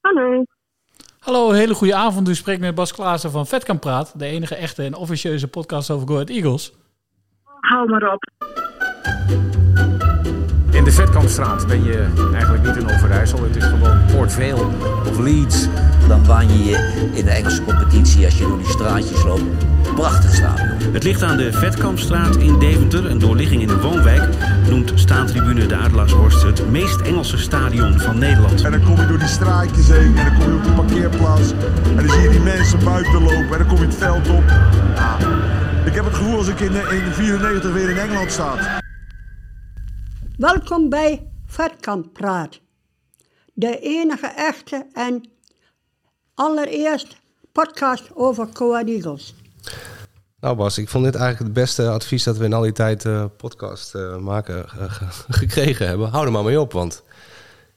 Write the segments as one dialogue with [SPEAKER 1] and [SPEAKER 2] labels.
[SPEAKER 1] Hallo.
[SPEAKER 2] Hallo, hele goede avond. U spreekt met Bas Klaassen van Vet kan Praat, de enige echte en officieuze podcast over Go Ahead Eagles.
[SPEAKER 1] Hou maar op.
[SPEAKER 3] In de Vetkampstraat ben je eigenlijk niet in Overijssel. Het is gewoon Port Vale of Leeds.
[SPEAKER 4] Dan waan je je in de Engelse competitie als je door die straatjes loopt. Prachtig stadion.
[SPEAKER 5] Het ligt aan de Vetkampstraat in Deventer, een doorligging in de woonwijk. Noemt staantribune de Adelaarshorst het meest Engelse stadion van Nederland.
[SPEAKER 6] En dan kom je door die straatjes heen en dan kom je op de parkeerplaats. En dan zie je die mensen buiten lopen en dan kom je het veld op. Ja, ik heb het gevoel als ik in, eh, in 94 weer in Engeland sta.
[SPEAKER 7] Welkom bij Vetkamp Praat. De enige echte en allereerst podcast over Coa Eagles.
[SPEAKER 8] Nou Bas, ik vond dit eigenlijk het beste advies dat we in al die tijd eh, podcast eh, maken eh, ge- gekregen hebben. Hou er maar mee op, want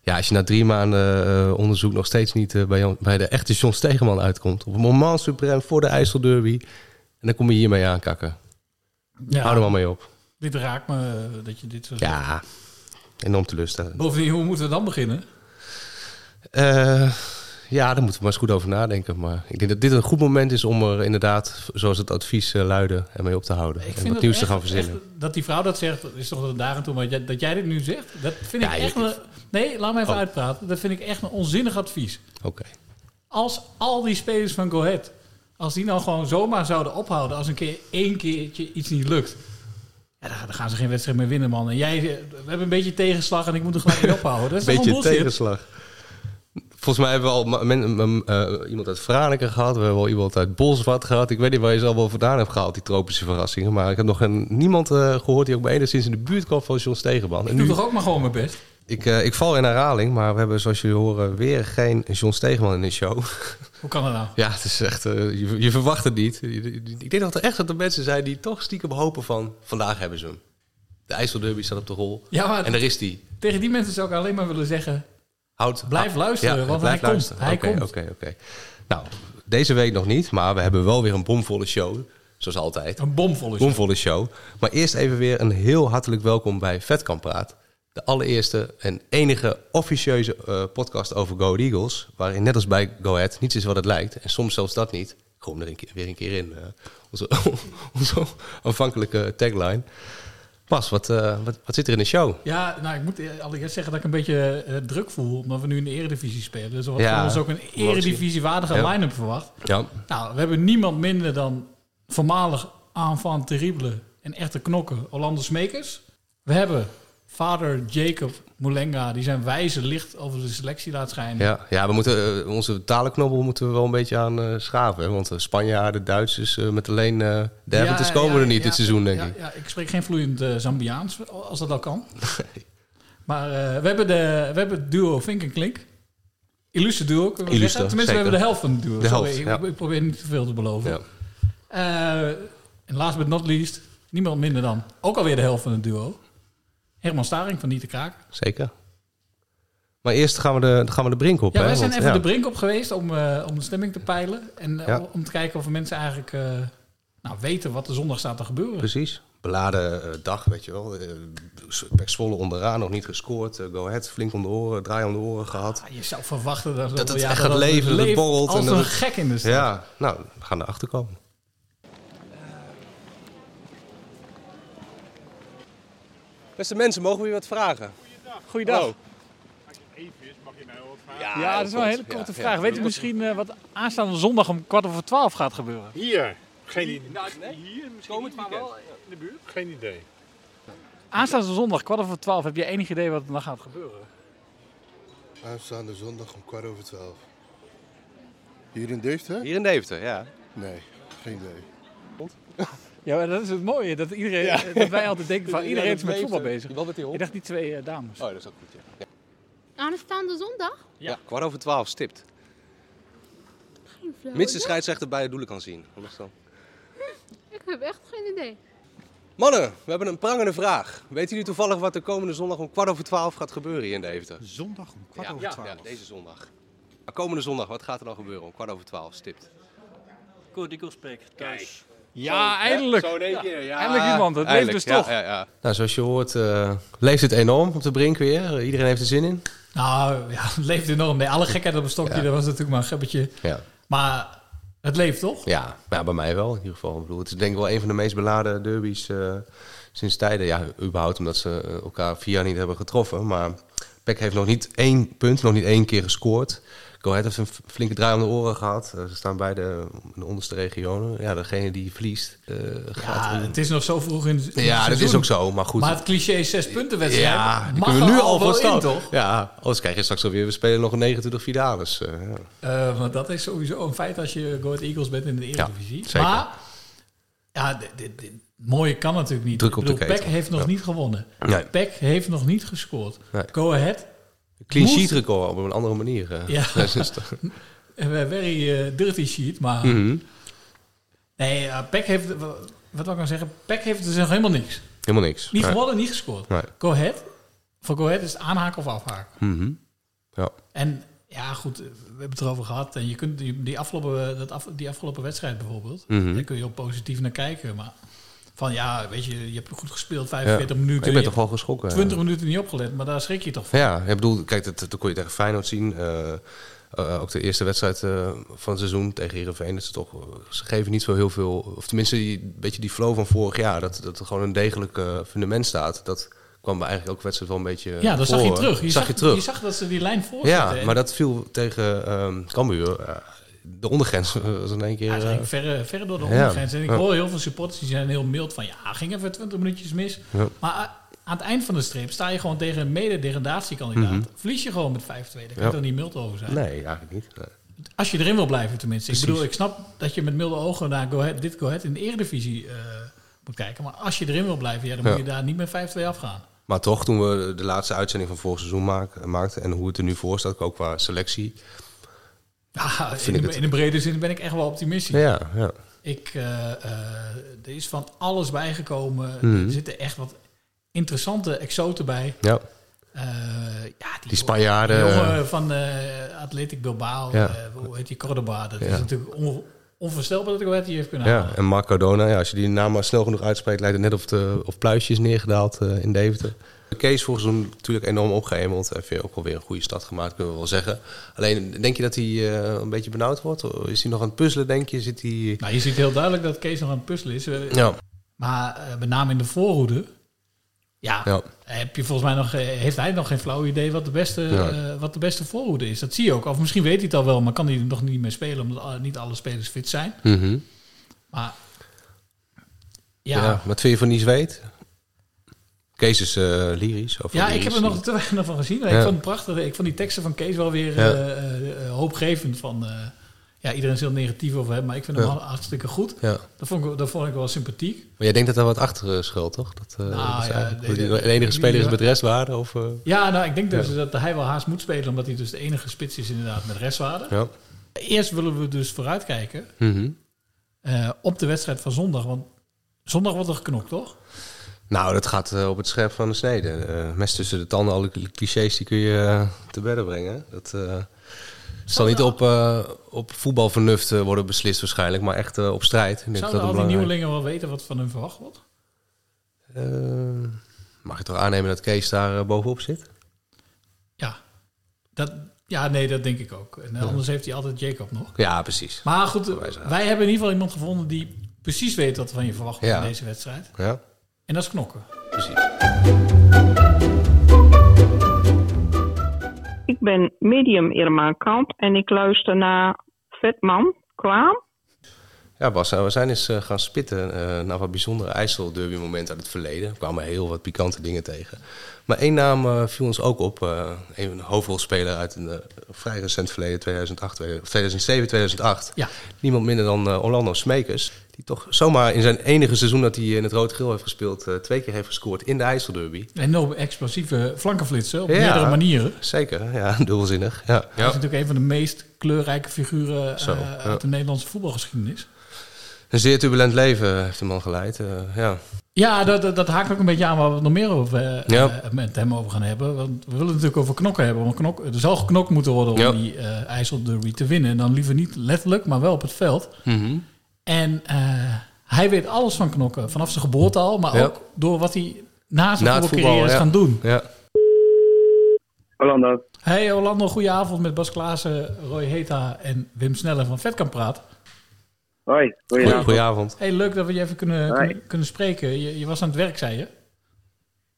[SPEAKER 8] ja, als je na drie maanden eh, onderzoek nog steeds niet eh, bij, Jan- bij de echte John Stegeman uitkomt. Op een moment supreme voor de IJsselderby. En dan kom je hiermee aankakken. Hou er maar mee op.
[SPEAKER 2] dit raakt me eh, dat je dit zo zegt.
[SPEAKER 8] Ja, enorm teleurstellend.
[SPEAKER 2] Bovendien, hoe moeten we dan beginnen?
[SPEAKER 8] Eh, ja, daar moeten we maar eens goed over nadenken. Maar ik denk dat dit een goed moment is om er inderdaad, zoals het advies eh, luidde, ermee op te houden. en wat
[SPEAKER 2] het
[SPEAKER 8] nieuws te
[SPEAKER 2] echt-
[SPEAKER 8] gaan verzinnen.
[SPEAKER 2] echt dat die vrouw dat zegt, dat is toch dat daar en toe. Maar jij- dat jij dit nu zegt, dat vind
[SPEAKER 8] Ja,
[SPEAKER 2] ik
[SPEAKER 8] je-
[SPEAKER 2] echt... Een, nee, laat me even
[SPEAKER 8] Oh.
[SPEAKER 2] uitpraten. Dat vind ik echt een onzinnig advies.
[SPEAKER 8] Oké.
[SPEAKER 2] Als al die spelers van Go Ahead, als die nou gewoon zomaar zouden ophouden als een keer één keertje iets niet lukt. Ja, dan, dan gaan ze geen wedstrijd meer winnen, man. En jij, eh, we hebben een beetje tegenslag en ik moet er gelijk mee ophouden. Dat is toch
[SPEAKER 8] beetje
[SPEAKER 2] gewoon bullshit?
[SPEAKER 8] tegenslag. Volgens mij hebben we al ma- men- men- eh, iemand uit Franeker gehad. We hebben al iemand uit Bolsward gehad. Ik weet niet waar je ze allemaal vandaan hebt gehaald, die tropische verrassingen. Maar ik heb nog een, niemand eh, gehoord die ook maar enigszins in de buurt kwam van John Stegenman. En
[SPEAKER 2] Ik doe
[SPEAKER 8] nu,
[SPEAKER 2] toch ook maar gewoon mijn best.
[SPEAKER 8] ik, eh, ik val in herhaling, maar we hebben zoals jullie horen weer geen John Stegeman in de show.
[SPEAKER 2] Hoe kan dat nou?
[SPEAKER 8] ja, het is echt, eh, je, je verwacht het niet. Je- je- Ik denk dat er echt dat er mensen zijn die toch stiekem hopen van vandaag hebben ze hem. De IJsselderby staat op de rol.
[SPEAKER 2] Ja, maar
[SPEAKER 8] en daar is die.
[SPEAKER 2] tegen die mensen zou ik alleen maar willen zeggen...
[SPEAKER 8] Houd,
[SPEAKER 2] Blijf
[SPEAKER 8] ah,
[SPEAKER 2] luisteren, want hij komt. Hij
[SPEAKER 8] Oké,
[SPEAKER 2] komt.
[SPEAKER 8] Oké, oké. Nou, deze week nog niet, maar we hebben wel weer een bomvolle show. Zoals altijd.
[SPEAKER 2] Een bomvolle show.
[SPEAKER 8] bomvolle show. Maar eerst even weer een heel hartelijk welkom bij Vetkamp Praat. De allereerste en enige officieuze eh, podcast over Go Ahead Eagles. Waarin net als bij Go Ahead niets is wat het lijkt. En soms zelfs dat niet. Gewoon er een keer, weer een keer in. eh, onze, onze aanvankelijke tagline. Pas, wat, eh, wat, wat zit er in de show?
[SPEAKER 2] Ja, nou, ik moet e- allereerst zeggen dat ik een beetje eh, druk voel... omdat we nu in de eredivisie spelen. Dus we hadden
[SPEAKER 8] Ja,
[SPEAKER 2] van ons ook een
[SPEAKER 8] zien.
[SPEAKER 2] eredivisiewaardige
[SPEAKER 8] Ja.
[SPEAKER 2] line-up verwacht.
[SPEAKER 8] Ja,
[SPEAKER 2] Nou, we hebben niemand minder dan voormalig aanvang terrible... en echte knokken, Orlando Smekers. We hebben vader Jacob Moulenga... die zijn wijze licht over de selectie laat schijnen.
[SPEAKER 8] Ja, ja we moeten, eh, onze talenknobbel moeten we wel een beetje aan eh, schaven. Hè? Want de Spanjaarden, Duitsers eh, met alleen eh Deventers
[SPEAKER 2] Ja,
[SPEAKER 8] komen
[SPEAKER 2] ja,
[SPEAKER 8] er niet
[SPEAKER 2] ja,
[SPEAKER 8] dit seizoen, denk
[SPEAKER 2] ja,
[SPEAKER 8] ik.
[SPEAKER 2] Ja, ik spreek geen vloeiend eh, Zambiaans, als dat al kan. Maar eh, we, hebben de, we hebben het duo Vink en Klink. Illustre duo, kunnen we
[SPEAKER 8] Illustre,
[SPEAKER 2] zeggen. Tenminste,
[SPEAKER 8] zeker.
[SPEAKER 2] we hebben de helft van het duo.
[SPEAKER 8] De
[SPEAKER 2] Sorry,
[SPEAKER 8] helft,
[SPEAKER 2] ik-
[SPEAKER 8] ja.
[SPEAKER 2] ik, probeer niet te veel te beloven.
[SPEAKER 8] Ja.
[SPEAKER 2] Eh, en last but not least, niemand minder dan, ook alweer de helft van het duo... Herman Staring van Niet te Kraak.
[SPEAKER 8] Zeker. Maar eerst gaan we de, gaan we de brink op.
[SPEAKER 2] Ja,
[SPEAKER 8] hè?
[SPEAKER 2] wij zijn
[SPEAKER 8] Want,
[SPEAKER 2] even
[SPEAKER 8] ja.
[SPEAKER 2] de brink op geweest om, eh, om de stemming te peilen. En eh,
[SPEAKER 8] Ja.
[SPEAKER 2] om te kijken of mensen eigenlijk eh, nou, weten wat er zondag staat te gebeuren.
[SPEAKER 8] Precies. Beladen eh, dag, weet je wel. Eh Pek Zwolle onderaan, nog niet gescoord. Eh, Go Ahead, flink om de oren, draai om de oren gehad.
[SPEAKER 2] Ah, Je zou verwachten dat,
[SPEAKER 8] Dat het
[SPEAKER 2] ja,
[SPEAKER 8] echt gaat leven, dat het
[SPEAKER 2] leeft
[SPEAKER 8] borrelt
[SPEAKER 2] Als
[SPEAKER 8] en
[SPEAKER 2] een
[SPEAKER 8] dat het-
[SPEAKER 2] gek in de stad.
[SPEAKER 8] Ja, nou, we gaan erachter komen. Beste mensen, mogen we u wat vragen?
[SPEAKER 9] Goeiedag.
[SPEAKER 8] Hallo. Ja,
[SPEAKER 2] Weet u misschien eh, wat aanstaande zondag om kwart over twaalf gaat gebeuren? nou,
[SPEAKER 9] Hier. Geen idee. Hier misschien Kom het maar wel in
[SPEAKER 2] eh,
[SPEAKER 9] de buurt? Geen idee.
[SPEAKER 2] Aanstaande zondag, kwart over twaalf, heb je enig idee wat er dan gaat gebeuren?
[SPEAKER 10] Aanstaande zondag om kwart over twaalf. Hier in Deventer?
[SPEAKER 8] Hier in Deventer, ja.
[SPEAKER 10] Nee, geen idee.
[SPEAKER 2] Ja, maar dat is het mooie. Dat, iedereen, dat wij altijd denken van iedereen is met voetbal bezig.
[SPEAKER 8] Wel met die
[SPEAKER 2] Ik dacht die twee eh, dames.
[SPEAKER 8] Oh, dat is ook goed, ja. Ja,
[SPEAKER 1] Aanstaande zondag?
[SPEAKER 8] ja, kwart over twaalf stipt.
[SPEAKER 1] Geen flauw
[SPEAKER 8] Mits de
[SPEAKER 1] idee.
[SPEAKER 8] scheidsrechter bij de doelen kan zien. Anders dan.
[SPEAKER 1] Ik heb echt geen idee.
[SPEAKER 8] Mannen, we hebben een prangende vraag. Weet jullie toevallig wat er komende zondag om kwart over twaalf gaat gebeuren hier in Deventer?
[SPEAKER 9] Zondag om kwart
[SPEAKER 8] ja,
[SPEAKER 9] over
[SPEAKER 8] ja,
[SPEAKER 9] twaalf.
[SPEAKER 8] ja, deze zondag. Maar komende zondag, wat gaat er dan gebeuren om kwart over twaalf stipt?
[SPEAKER 2] Ja, eindelijk.
[SPEAKER 8] in één keer, ja.
[SPEAKER 2] Eindelijk iemand, het leeft dus toch.
[SPEAKER 8] eh, Nou, zoals je hoort, leeft het enorm op de brink weer. Eh, Iedereen heeft er zin in.
[SPEAKER 2] Nou ja, het leeft enorm. Nee, alle gekheid op een stokje,
[SPEAKER 8] Ja.
[SPEAKER 2] dat was natuurlijk maar een gebbetje.
[SPEAKER 8] Ja.
[SPEAKER 2] Maar het leeft toch?
[SPEAKER 8] Ja, nou, bij mij wel in ieder geval. Ik bedoel, het is denk ik wel een van de meest beladen derbies eh, sinds tijden. Ja, überhaupt omdat ze eh, elkaar vier jaar niet hebben getroffen. Maar Peck heeft nog niet één punt, nog niet één keer gescoord. Go Ahead heeft een f- flinke draai om de oren gehad. Eh, ze staan beide in de onderste regionen. Ja, degene die verliest eh, gaat...
[SPEAKER 2] Ja,
[SPEAKER 8] in-
[SPEAKER 2] het is nog zo vroeg in, in het
[SPEAKER 8] ja, dat
[SPEAKER 2] seizoen.
[SPEAKER 8] is ook zo, maar goed.
[SPEAKER 2] Maar het cliché zes punten wedstrijd
[SPEAKER 8] ja, die
[SPEAKER 2] mag
[SPEAKER 8] kunnen we
[SPEAKER 2] er
[SPEAKER 8] nu al
[SPEAKER 2] wel
[SPEAKER 8] voor staan.
[SPEAKER 2] in, toch?
[SPEAKER 8] Ja, anders krijg je straks alweer... We spelen nog 29 finales. eh, ja.
[SPEAKER 2] Eh, want dat is sowieso een feit als je Go Ahead Eagles bent in de Eredivisie.
[SPEAKER 8] zeker.
[SPEAKER 2] Maar, ja, dit, dit, dit- mooie kan natuurlijk niet.
[SPEAKER 8] Druk
[SPEAKER 2] Ik
[SPEAKER 8] op de
[SPEAKER 2] bedoel,
[SPEAKER 8] ketel.
[SPEAKER 2] Peck heeft nog
[SPEAKER 8] Ja.
[SPEAKER 2] niet gewonnen.
[SPEAKER 8] Nee.
[SPEAKER 2] Peck heeft nog niet gescoord.
[SPEAKER 8] Nee.
[SPEAKER 2] Go Ahead,
[SPEAKER 8] Clean
[SPEAKER 2] Moest-
[SPEAKER 8] sheet record op een andere manier. eh.
[SPEAKER 2] Ja.
[SPEAKER 8] Dat is toch-
[SPEAKER 2] eh, very eh, dirty sheet, maar...
[SPEAKER 8] Mhm.
[SPEAKER 2] Nee, eh, Peck heeft... eh, Wat wil ik nou zeggen? Peck heeft dus nog helemaal niks.
[SPEAKER 8] Helemaal niks.
[SPEAKER 2] Niet
[SPEAKER 8] Nee.
[SPEAKER 2] gewonnen, niet gescoord.
[SPEAKER 8] Nee.
[SPEAKER 2] Go Ahead, voor Go Ahead is het aanhaken of afhaken.
[SPEAKER 8] Mhm. Ja.
[SPEAKER 2] En ja, goed, eh, we hebben het erover gehad. En je kunt die, die, afgelopen, eh, dat af, die afgelopen wedstrijd bijvoorbeeld,
[SPEAKER 8] Mhm.
[SPEAKER 2] daar kun je op positief naar kijken. Maar van ja, weet je, je hebt goed gespeeld, 45 minuten.
[SPEAKER 8] Ik ben
[SPEAKER 2] je
[SPEAKER 8] toch
[SPEAKER 2] hebt
[SPEAKER 8] wel eh, geschrokken.
[SPEAKER 2] 20 minuten niet opgelet, maar daar schrik je toch van.
[SPEAKER 8] Ja, ik bedoel, kijk, dat, dat kon je tegen Feyenoord zien. Eh, eh, ook de eerste wedstrijd eh, van het seizoen tegen Heerenveen. Dat ze, toch, eh, ze geven niet zo heel veel... Of tenminste, die, een beetje die flow van vorig jaar. Dat, dat er gewoon een degelijk eh, fundament staat. Dat kwam bij eigenlijk elke wedstrijd wel een beetje
[SPEAKER 2] Ja, dat
[SPEAKER 8] dat
[SPEAKER 2] zag je terug.
[SPEAKER 8] zag, je terug.
[SPEAKER 2] Je zag dat ze die lijn voor
[SPEAKER 8] ja,
[SPEAKER 2] zitten. En
[SPEAKER 8] maar dat viel tegen ehm Cambuur. eh, de ondergrens was in één keer...
[SPEAKER 2] ja, ze gingen
[SPEAKER 8] eh,
[SPEAKER 2] verre, verre door de
[SPEAKER 8] ja.
[SPEAKER 2] ondergrens. En ik
[SPEAKER 8] Ja.
[SPEAKER 2] hoor heel veel supporters die zijn heel mild van... ja, ging even 20 minuutjes mis.
[SPEAKER 8] Ja.
[SPEAKER 2] Maar eh, aan het eind van de streep sta je gewoon tegen een mede-degradatiekandidaat.
[SPEAKER 8] Mhm.
[SPEAKER 2] Verlies je gewoon met 5-2. Daar kan
[SPEAKER 8] Ja.
[SPEAKER 2] je toch niet mild over zijn?
[SPEAKER 8] eh, nee, eigenlijk niet. Nee.
[SPEAKER 2] Als je erin wil blijven, tenminste.
[SPEAKER 8] Precies.
[SPEAKER 2] Ik bedoel, ik snap dat je met milde ogen naar Go Ahead- dit Go Ahead in de Eredivisie eh, moet kijken. Maar als je erin wil blijven, ja, dan moet
[SPEAKER 8] Ja.
[SPEAKER 2] je daar niet met 5-2 afgaan.
[SPEAKER 8] Maar toch, toen we de laatste uitzending van vorig seizoen maak- maakten en hoe het er nu voor staat, ook qua selectie.
[SPEAKER 2] Ja, in,
[SPEAKER 8] ik
[SPEAKER 2] de,
[SPEAKER 8] het-
[SPEAKER 2] in de brede zin ben ik echt wel optimistisch.
[SPEAKER 8] Ja, ja.
[SPEAKER 2] Ik, eh, eh, er is van alles bijgekomen.
[SPEAKER 8] Mhm.
[SPEAKER 2] Er zitten echt wat interessante exoten bij.
[SPEAKER 8] ja.
[SPEAKER 2] Eh, ja, die,
[SPEAKER 8] Die Spanjaarden. eh,
[SPEAKER 2] die jongen van eh Athletic Bilbao,
[SPEAKER 8] Ja.
[SPEAKER 2] eh, hoe heet die Cordoba? Dat
[SPEAKER 8] Ja.
[SPEAKER 2] is natuurlijk on- onvoorstelbaar dat ik weet die heeft kunnen halen.
[SPEAKER 8] ja. En Marc Cardona, ja, als je die naam maar snel genoeg uitspreekt, lijkt het net of, de, of Pluisje is neergedaald eh, in Deventer. Kees vorig seizoen natuurlijk enorm opgehemeld. Heeft weer ook alweer een goede stad gemaakt, kunnen we wel zeggen. Alleen, denk je dat hij eh, een beetje benauwd wordt? Is hij nog aan het puzzelen, denk je? Zit hij...
[SPEAKER 2] Nou, je ziet heel duidelijk dat Kees nog aan het puzzelen is. Eh,
[SPEAKER 8] Ja,
[SPEAKER 2] Maar eh, met name in de voorhoede. Ja,
[SPEAKER 8] ja.
[SPEAKER 2] heb je volgens mij nog, eh, heeft hij nog geen flauw idee wat de, beste,
[SPEAKER 8] Ja.
[SPEAKER 2] eh, wat de beste voorhoede is. Dat zie je ook. Of misschien weet hij het al wel, maar kan hij er nog niet mee spelen. Omdat al- niet alle spelers fit zijn.
[SPEAKER 8] Mhm.
[SPEAKER 2] Maar ja,
[SPEAKER 8] ja.
[SPEAKER 2] ja,
[SPEAKER 8] Wat vind je van die zweet? Kees is eh, lyrisch. over
[SPEAKER 2] ik heb
[SPEAKER 8] lyrisch.
[SPEAKER 2] er nog te weinig van gezien. Ik
[SPEAKER 8] Ja.
[SPEAKER 2] vond het prachtig. Ik vond die teksten van Kees wel weer
[SPEAKER 8] Ja.
[SPEAKER 2] eh, eh, eh, hoopgevend. Van, eh, ja, iedereen is heel negatief over hem, maar ik vind hem
[SPEAKER 8] Ja.
[SPEAKER 2] wel hartstikke goed.
[SPEAKER 8] Ja.
[SPEAKER 2] Dat vond, ik, dat vond ik wel sympathiek.
[SPEAKER 8] Maar jij denkt dat daar wat achter eh, schuilt, toch? Dat, eh,
[SPEAKER 2] Nou,
[SPEAKER 8] dat ze
[SPEAKER 2] ja,
[SPEAKER 8] eigenlijk-
[SPEAKER 2] nee,
[SPEAKER 8] dat
[SPEAKER 2] nee,
[SPEAKER 8] de enige
[SPEAKER 2] nee,
[SPEAKER 8] speler is
[SPEAKER 2] nee,
[SPEAKER 8] met restwaarde? Of, eh,
[SPEAKER 2] Ja, nou, ik denk dus
[SPEAKER 8] Ja.
[SPEAKER 2] dat hij wel haast moet spelen, omdat hij dus de enige spits is inderdaad met restwaarde.
[SPEAKER 8] ja.
[SPEAKER 2] Eerst willen we dus vooruitkijken
[SPEAKER 8] Mhm.
[SPEAKER 2] eh, op de wedstrijd van zondag, want zondag wordt er geknokt, toch?
[SPEAKER 8] Nou, dat gaat eh, op het scherp van de snede. Eh, mes tussen de tanden, alle cli- clichés die kun je eh, te bedden brengen. Dat eh, het zal niet op, eh, op voetbalvernuft eh, worden beslist waarschijnlijk, maar echt eh, op strijd. Ik denk dat
[SPEAKER 2] Zouden al
[SPEAKER 8] dat
[SPEAKER 2] die
[SPEAKER 8] belangrijk-
[SPEAKER 2] nieuwelingen wel weten wat van hun verwacht wordt?
[SPEAKER 8] Eh, mag je toch aannemen dat Kees daar eh, bovenop zit?
[SPEAKER 2] Ja, dat, ja, nee, dat denk ik ook. En eh, anders heeft hij altijd Jacob nog.
[SPEAKER 8] Ja, precies.
[SPEAKER 2] Maar goed,
[SPEAKER 8] Wij zijn-
[SPEAKER 2] wij hebben in ieder geval iemand gevonden die precies weet wat er van je verwacht wordt
[SPEAKER 8] Ja.
[SPEAKER 2] in deze wedstrijd.
[SPEAKER 8] Ja,
[SPEAKER 2] En dat is knokken.
[SPEAKER 8] precies.
[SPEAKER 11] Ik ben medium Irma Kamp en ik luister naar Vetman Kwaam.
[SPEAKER 8] Ja, Bas, nou, we zijn eens eh, gaan spitten eh, naar wat bijzondere IJsselderby-momenten uit het verleden. Er kwamen heel wat pikante dingen tegen. Maar één naam eh, viel ons ook op. eh, een hoofdrolspeler uit een eh, vrij recent verleden, 2008, 2007, 2008.
[SPEAKER 2] Ja.
[SPEAKER 8] Niemand minder dan eh, Orlando Smekers. Die toch zomaar in zijn enige seizoen dat hij in het rood-geel heeft gespeeld... eh, twee keer heeft gescoord in de IJsselderby.
[SPEAKER 2] En no explosieve flankenflitsen op
[SPEAKER 8] Ja.
[SPEAKER 2] meerdere manieren.
[SPEAKER 8] Zeker, ja, dubbelzinnig. Ja.
[SPEAKER 2] Hij is natuurlijk een van de meest kleurrijke figuren eh,
[SPEAKER 8] Zo, ja.
[SPEAKER 2] uit de Nederlandse voetbalgeschiedenis.
[SPEAKER 8] Een zeer turbulent leven heeft de man geleid. eh, ja.
[SPEAKER 2] Ja, dat, dat, dat haakt ook een beetje aan waar we het nog meer over, eh,
[SPEAKER 8] Ja.
[SPEAKER 2] eh, met hem over gaan hebben. Want we willen het natuurlijk over knokken hebben. Want knok, er zal geknokt moeten worden om
[SPEAKER 8] Ja.
[SPEAKER 2] die eh IJssel Derby te winnen. En dan liever niet letterlijk, maar wel op het veld. En eh, hij weet alles van knokken. Vanaf zijn geboorte al, maar
[SPEAKER 8] Ja.
[SPEAKER 2] ook door wat hij na zijn
[SPEAKER 8] Na het
[SPEAKER 2] voetbalcarrière
[SPEAKER 8] voetbal,
[SPEAKER 2] is
[SPEAKER 8] ja.
[SPEAKER 2] gaan doen.
[SPEAKER 8] Ja.
[SPEAKER 12] Orlando.
[SPEAKER 2] Hey Orlando, goeie avond met Bas Klaassen, Roy Heta en Wim Sneller van Vetkamp Praat.
[SPEAKER 12] Hoi, goedenavond.
[SPEAKER 8] Goedenavond.
[SPEAKER 2] Hey, leuk dat we je even kunnen,
[SPEAKER 12] Hoi.
[SPEAKER 2] kunnen, kunnen spreken. Je, je was aan het werk, zei je?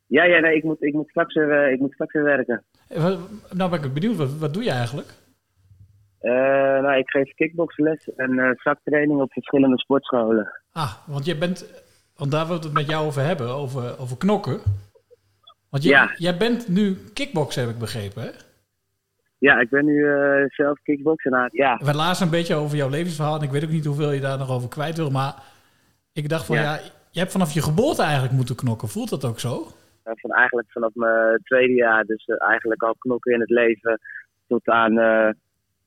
[SPEAKER 12] Ja, ja, nee, ik moet, ik moet, straks, weer, eh, ik moet straks weer werken.
[SPEAKER 2] Eh, wat- Nou ben ik benieuwd, wat, wat doe je eigenlijk?
[SPEAKER 12] Eh, nou, ik geef kickboxles en eh, zaktraining op verschillende sportscholen.
[SPEAKER 2] Ah, want jij bent, want daar wil ik het met jou over hebben, over, over knokken. Want jij,
[SPEAKER 12] Ja.
[SPEAKER 2] jij bent nu kickboxer, heb ik begrepen, hè?
[SPEAKER 12] Ja, ik ben nu eh, zelf kickboxenaar. Ja,
[SPEAKER 2] We lazen een beetje over jouw levensverhaal en ik weet ook niet hoeveel je daar nog over kwijt wil, maar ik dacht van ja,
[SPEAKER 12] Ja.
[SPEAKER 2] je hebt vanaf je geboorte eigenlijk moeten knokken. Voelt dat ook zo?
[SPEAKER 12] eh, van eigenlijk vanaf mijn tweede jaar, dus eh, eigenlijk al knokken in het leven tot aan eh,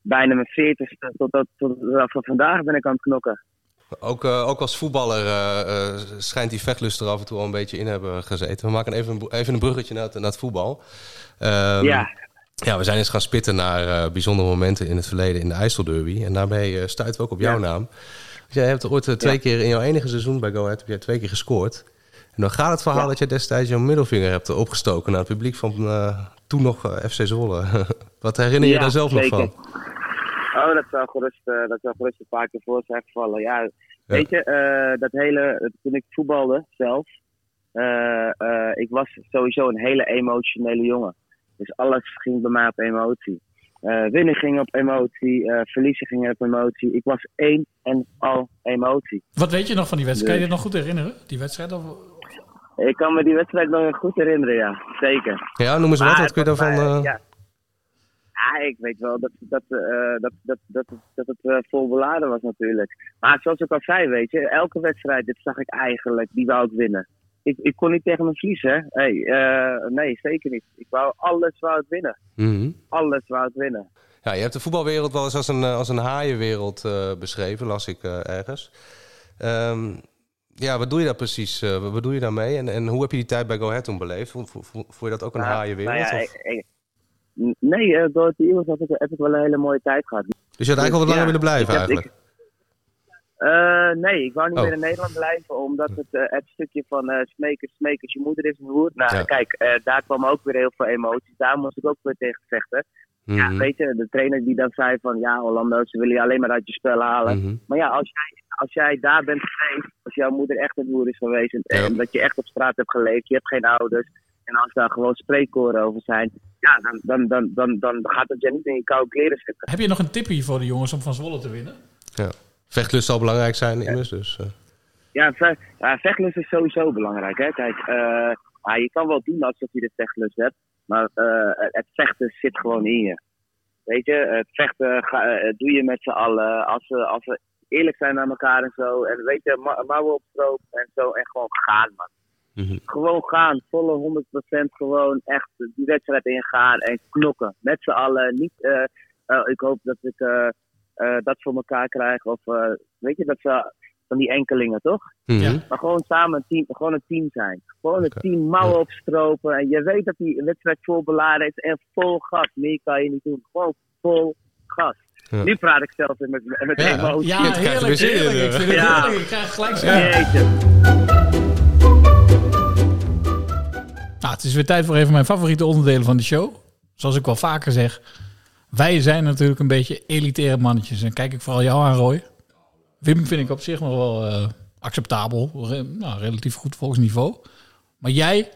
[SPEAKER 12] bijna mijn veertigste. Tot, tot, tot, eh, van vandaag ben ik aan het knokken.
[SPEAKER 8] Ook, eh, ook als voetballer eh, eh, schijnt die vechtlust er af en toe al een beetje in hebben gezeten. We maken even een, br- even een bruggetje naar het, naar het voetbal. Ehm,
[SPEAKER 12] Ja.
[SPEAKER 8] ja, we zijn eens gaan spitten naar eh, bijzondere momenten in het verleden in de IJsselderby. En daarbij eh, stuiten we ook op jouw naam. Want jij hebt ooit eh, twee keer in jouw enige seizoen bij Go Ahead heb jij twee keer gescoord. En dan gaat het verhaal dat jij destijds jouw middelvinger hebt eh, opgestoken naar het publiek van eh, toen nog eh, FC Zwolle. Wat herinner je
[SPEAKER 12] Ja,
[SPEAKER 8] daar zelf
[SPEAKER 12] zeker.
[SPEAKER 8] nog van?
[SPEAKER 12] Oh, dat zou gerust, eh, dat zou gerust een paar keer voor zijn gevallen. Ja, weet je, eh, dat hele, toen ik voetbalde zelf, eh, eh, ik was sowieso een hele emotionele jongen. Dus alles ging bij mij op emotie. Eh, winnen ging op emotie, eh, verliezen ging op emotie. Ik was één en al emotie.
[SPEAKER 2] Wat weet je nog van die wedstrijd? Kan je
[SPEAKER 12] Nee.
[SPEAKER 2] je dat nog goed herinneren? Die wedstrijd? Of...
[SPEAKER 12] Ik kan me die wedstrijd nog heel goed herinneren, ja, zeker.
[SPEAKER 8] Ja, noem eens wat.
[SPEAKER 12] Maar
[SPEAKER 8] Wat kun je
[SPEAKER 12] het was
[SPEAKER 8] daarvan...
[SPEAKER 12] bij-
[SPEAKER 8] eh,
[SPEAKER 12] ja. Ah, ik weet wel dat, dat, eh, dat, dat, dat, dat het eh, vol beladen was natuurlijk. Maar zoals ik al zei, weet je, elke wedstrijd, dit zag ik eigenlijk, die wou ik winnen. Ik, ik kon niet tegen me verliezen, hè. Hey, eh, nee, zeker niet. Ik wou alles wou ik winnen.
[SPEAKER 8] mhm.
[SPEAKER 12] Alles wou ik winnen.
[SPEAKER 8] Ja, je hebt de voetbalwereld wel eens als een, eh, als een haaienwereld eh, beschreven, las ik eh, ergens. Ehm, ja, wat doe je daar precies? eh, wat wat doe je daarmee? En, en hoe heb je die tijd bij Go Ahead toen beleefd? Vo- vo- vo- Vond je dat ook een
[SPEAKER 12] Nou,
[SPEAKER 8] haaienwereld?
[SPEAKER 12] nou ja,
[SPEAKER 8] of-
[SPEAKER 12] ik- ik- nee, eh, door de Eagles heb ik, heb ik wel een hele mooie tijd gehad.
[SPEAKER 8] Dus je had eigenlijk al wat langer
[SPEAKER 12] ja,
[SPEAKER 8] willen
[SPEAKER 12] ik
[SPEAKER 8] blijven
[SPEAKER 12] heb-
[SPEAKER 8] eigenlijk?
[SPEAKER 12] Eh, nee, ik wou niet
[SPEAKER 8] Oh.
[SPEAKER 12] meer in Nederland blijven, omdat het, eh, het stukje van eh smekers, smekers, je moeder is een hoer. Nou,
[SPEAKER 8] Ja.
[SPEAKER 12] kijk, eh, daar kwam ook weer heel veel emoties. Daar moest ik ook weer tegen vechten.
[SPEAKER 8] Mhm.
[SPEAKER 12] Ja, weet je, de trainer die dan zei van, ja, Orlando, ze willen je alleen maar uit je spel halen.
[SPEAKER 8] Mhm.
[SPEAKER 12] Maar ja, als jij, als jij daar bent geweest, als jouw moeder echt een hoer is geweest en, en dat je echt op straat hebt geleefd, je hebt geen ouders, en als daar gewoon spreekkoren over zijn, ja, dan, dan, dan, dan, dan gaat het je niet in je koude kleren zitten.
[SPEAKER 2] Heb je nog een tipje voor de jongens om van Zwolle te winnen?
[SPEAKER 8] Ja. Vechtlust zal belangrijk zijn immers, dus... eh.
[SPEAKER 12] Ja, ve ja, vechtlust is sowieso belangrijk. Hè? Kijk, eh, ah, je kan wel doen alsof je de vechtlust hebt, maar eh, het vechten zit gewoon in je. Weet je, het vechten ga, eh, doe je met z'n allen. Als we, als we eerlijk zijn naar elkaar en zo. En weet je, ma- mouwen op stroop en zo. En gewoon gaan, man.
[SPEAKER 8] mhm.
[SPEAKER 12] Gewoon gaan, volle 100% gewoon echt die wedstrijd ingaan en knokken. Met z'n allen. Niet, eh, eh, ik hoop dat ik eh, eh, dat voor elkaar krijg. Of eh, weet je, dat ze van die enkelingen toch?
[SPEAKER 8] Mhm.
[SPEAKER 12] Maar gewoon samen een team, gewoon een team zijn. Gewoon een team mouwen opstropen. En je weet dat die wedstrijd vol beladen is en vol gas. Meer kan je niet doen. Gewoon vol gas.
[SPEAKER 8] Ja.
[SPEAKER 12] Nu praat ik zelf met, met
[SPEAKER 2] Ja,
[SPEAKER 12] emotie.
[SPEAKER 2] ja, Het krijgt er weer heerlijk, zin in, heerlijk. eh. Ik vind het
[SPEAKER 12] Ja.
[SPEAKER 2] heerlijk. Ik krijg gelijk zin.
[SPEAKER 12] Jeetje.
[SPEAKER 2] Nou, het is weer tijd voor een van mijn favoriete onderdelen van de show. Zoals ik wel vaker zeg, wij zijn natuurlijk een beetje elitaire mannetjes. En kijk ik vooral jou aan, Roy. Wim vind ik op zich nog wel eh, acceptabel. Re- nou, relatief goed volgens niveau. Maar jij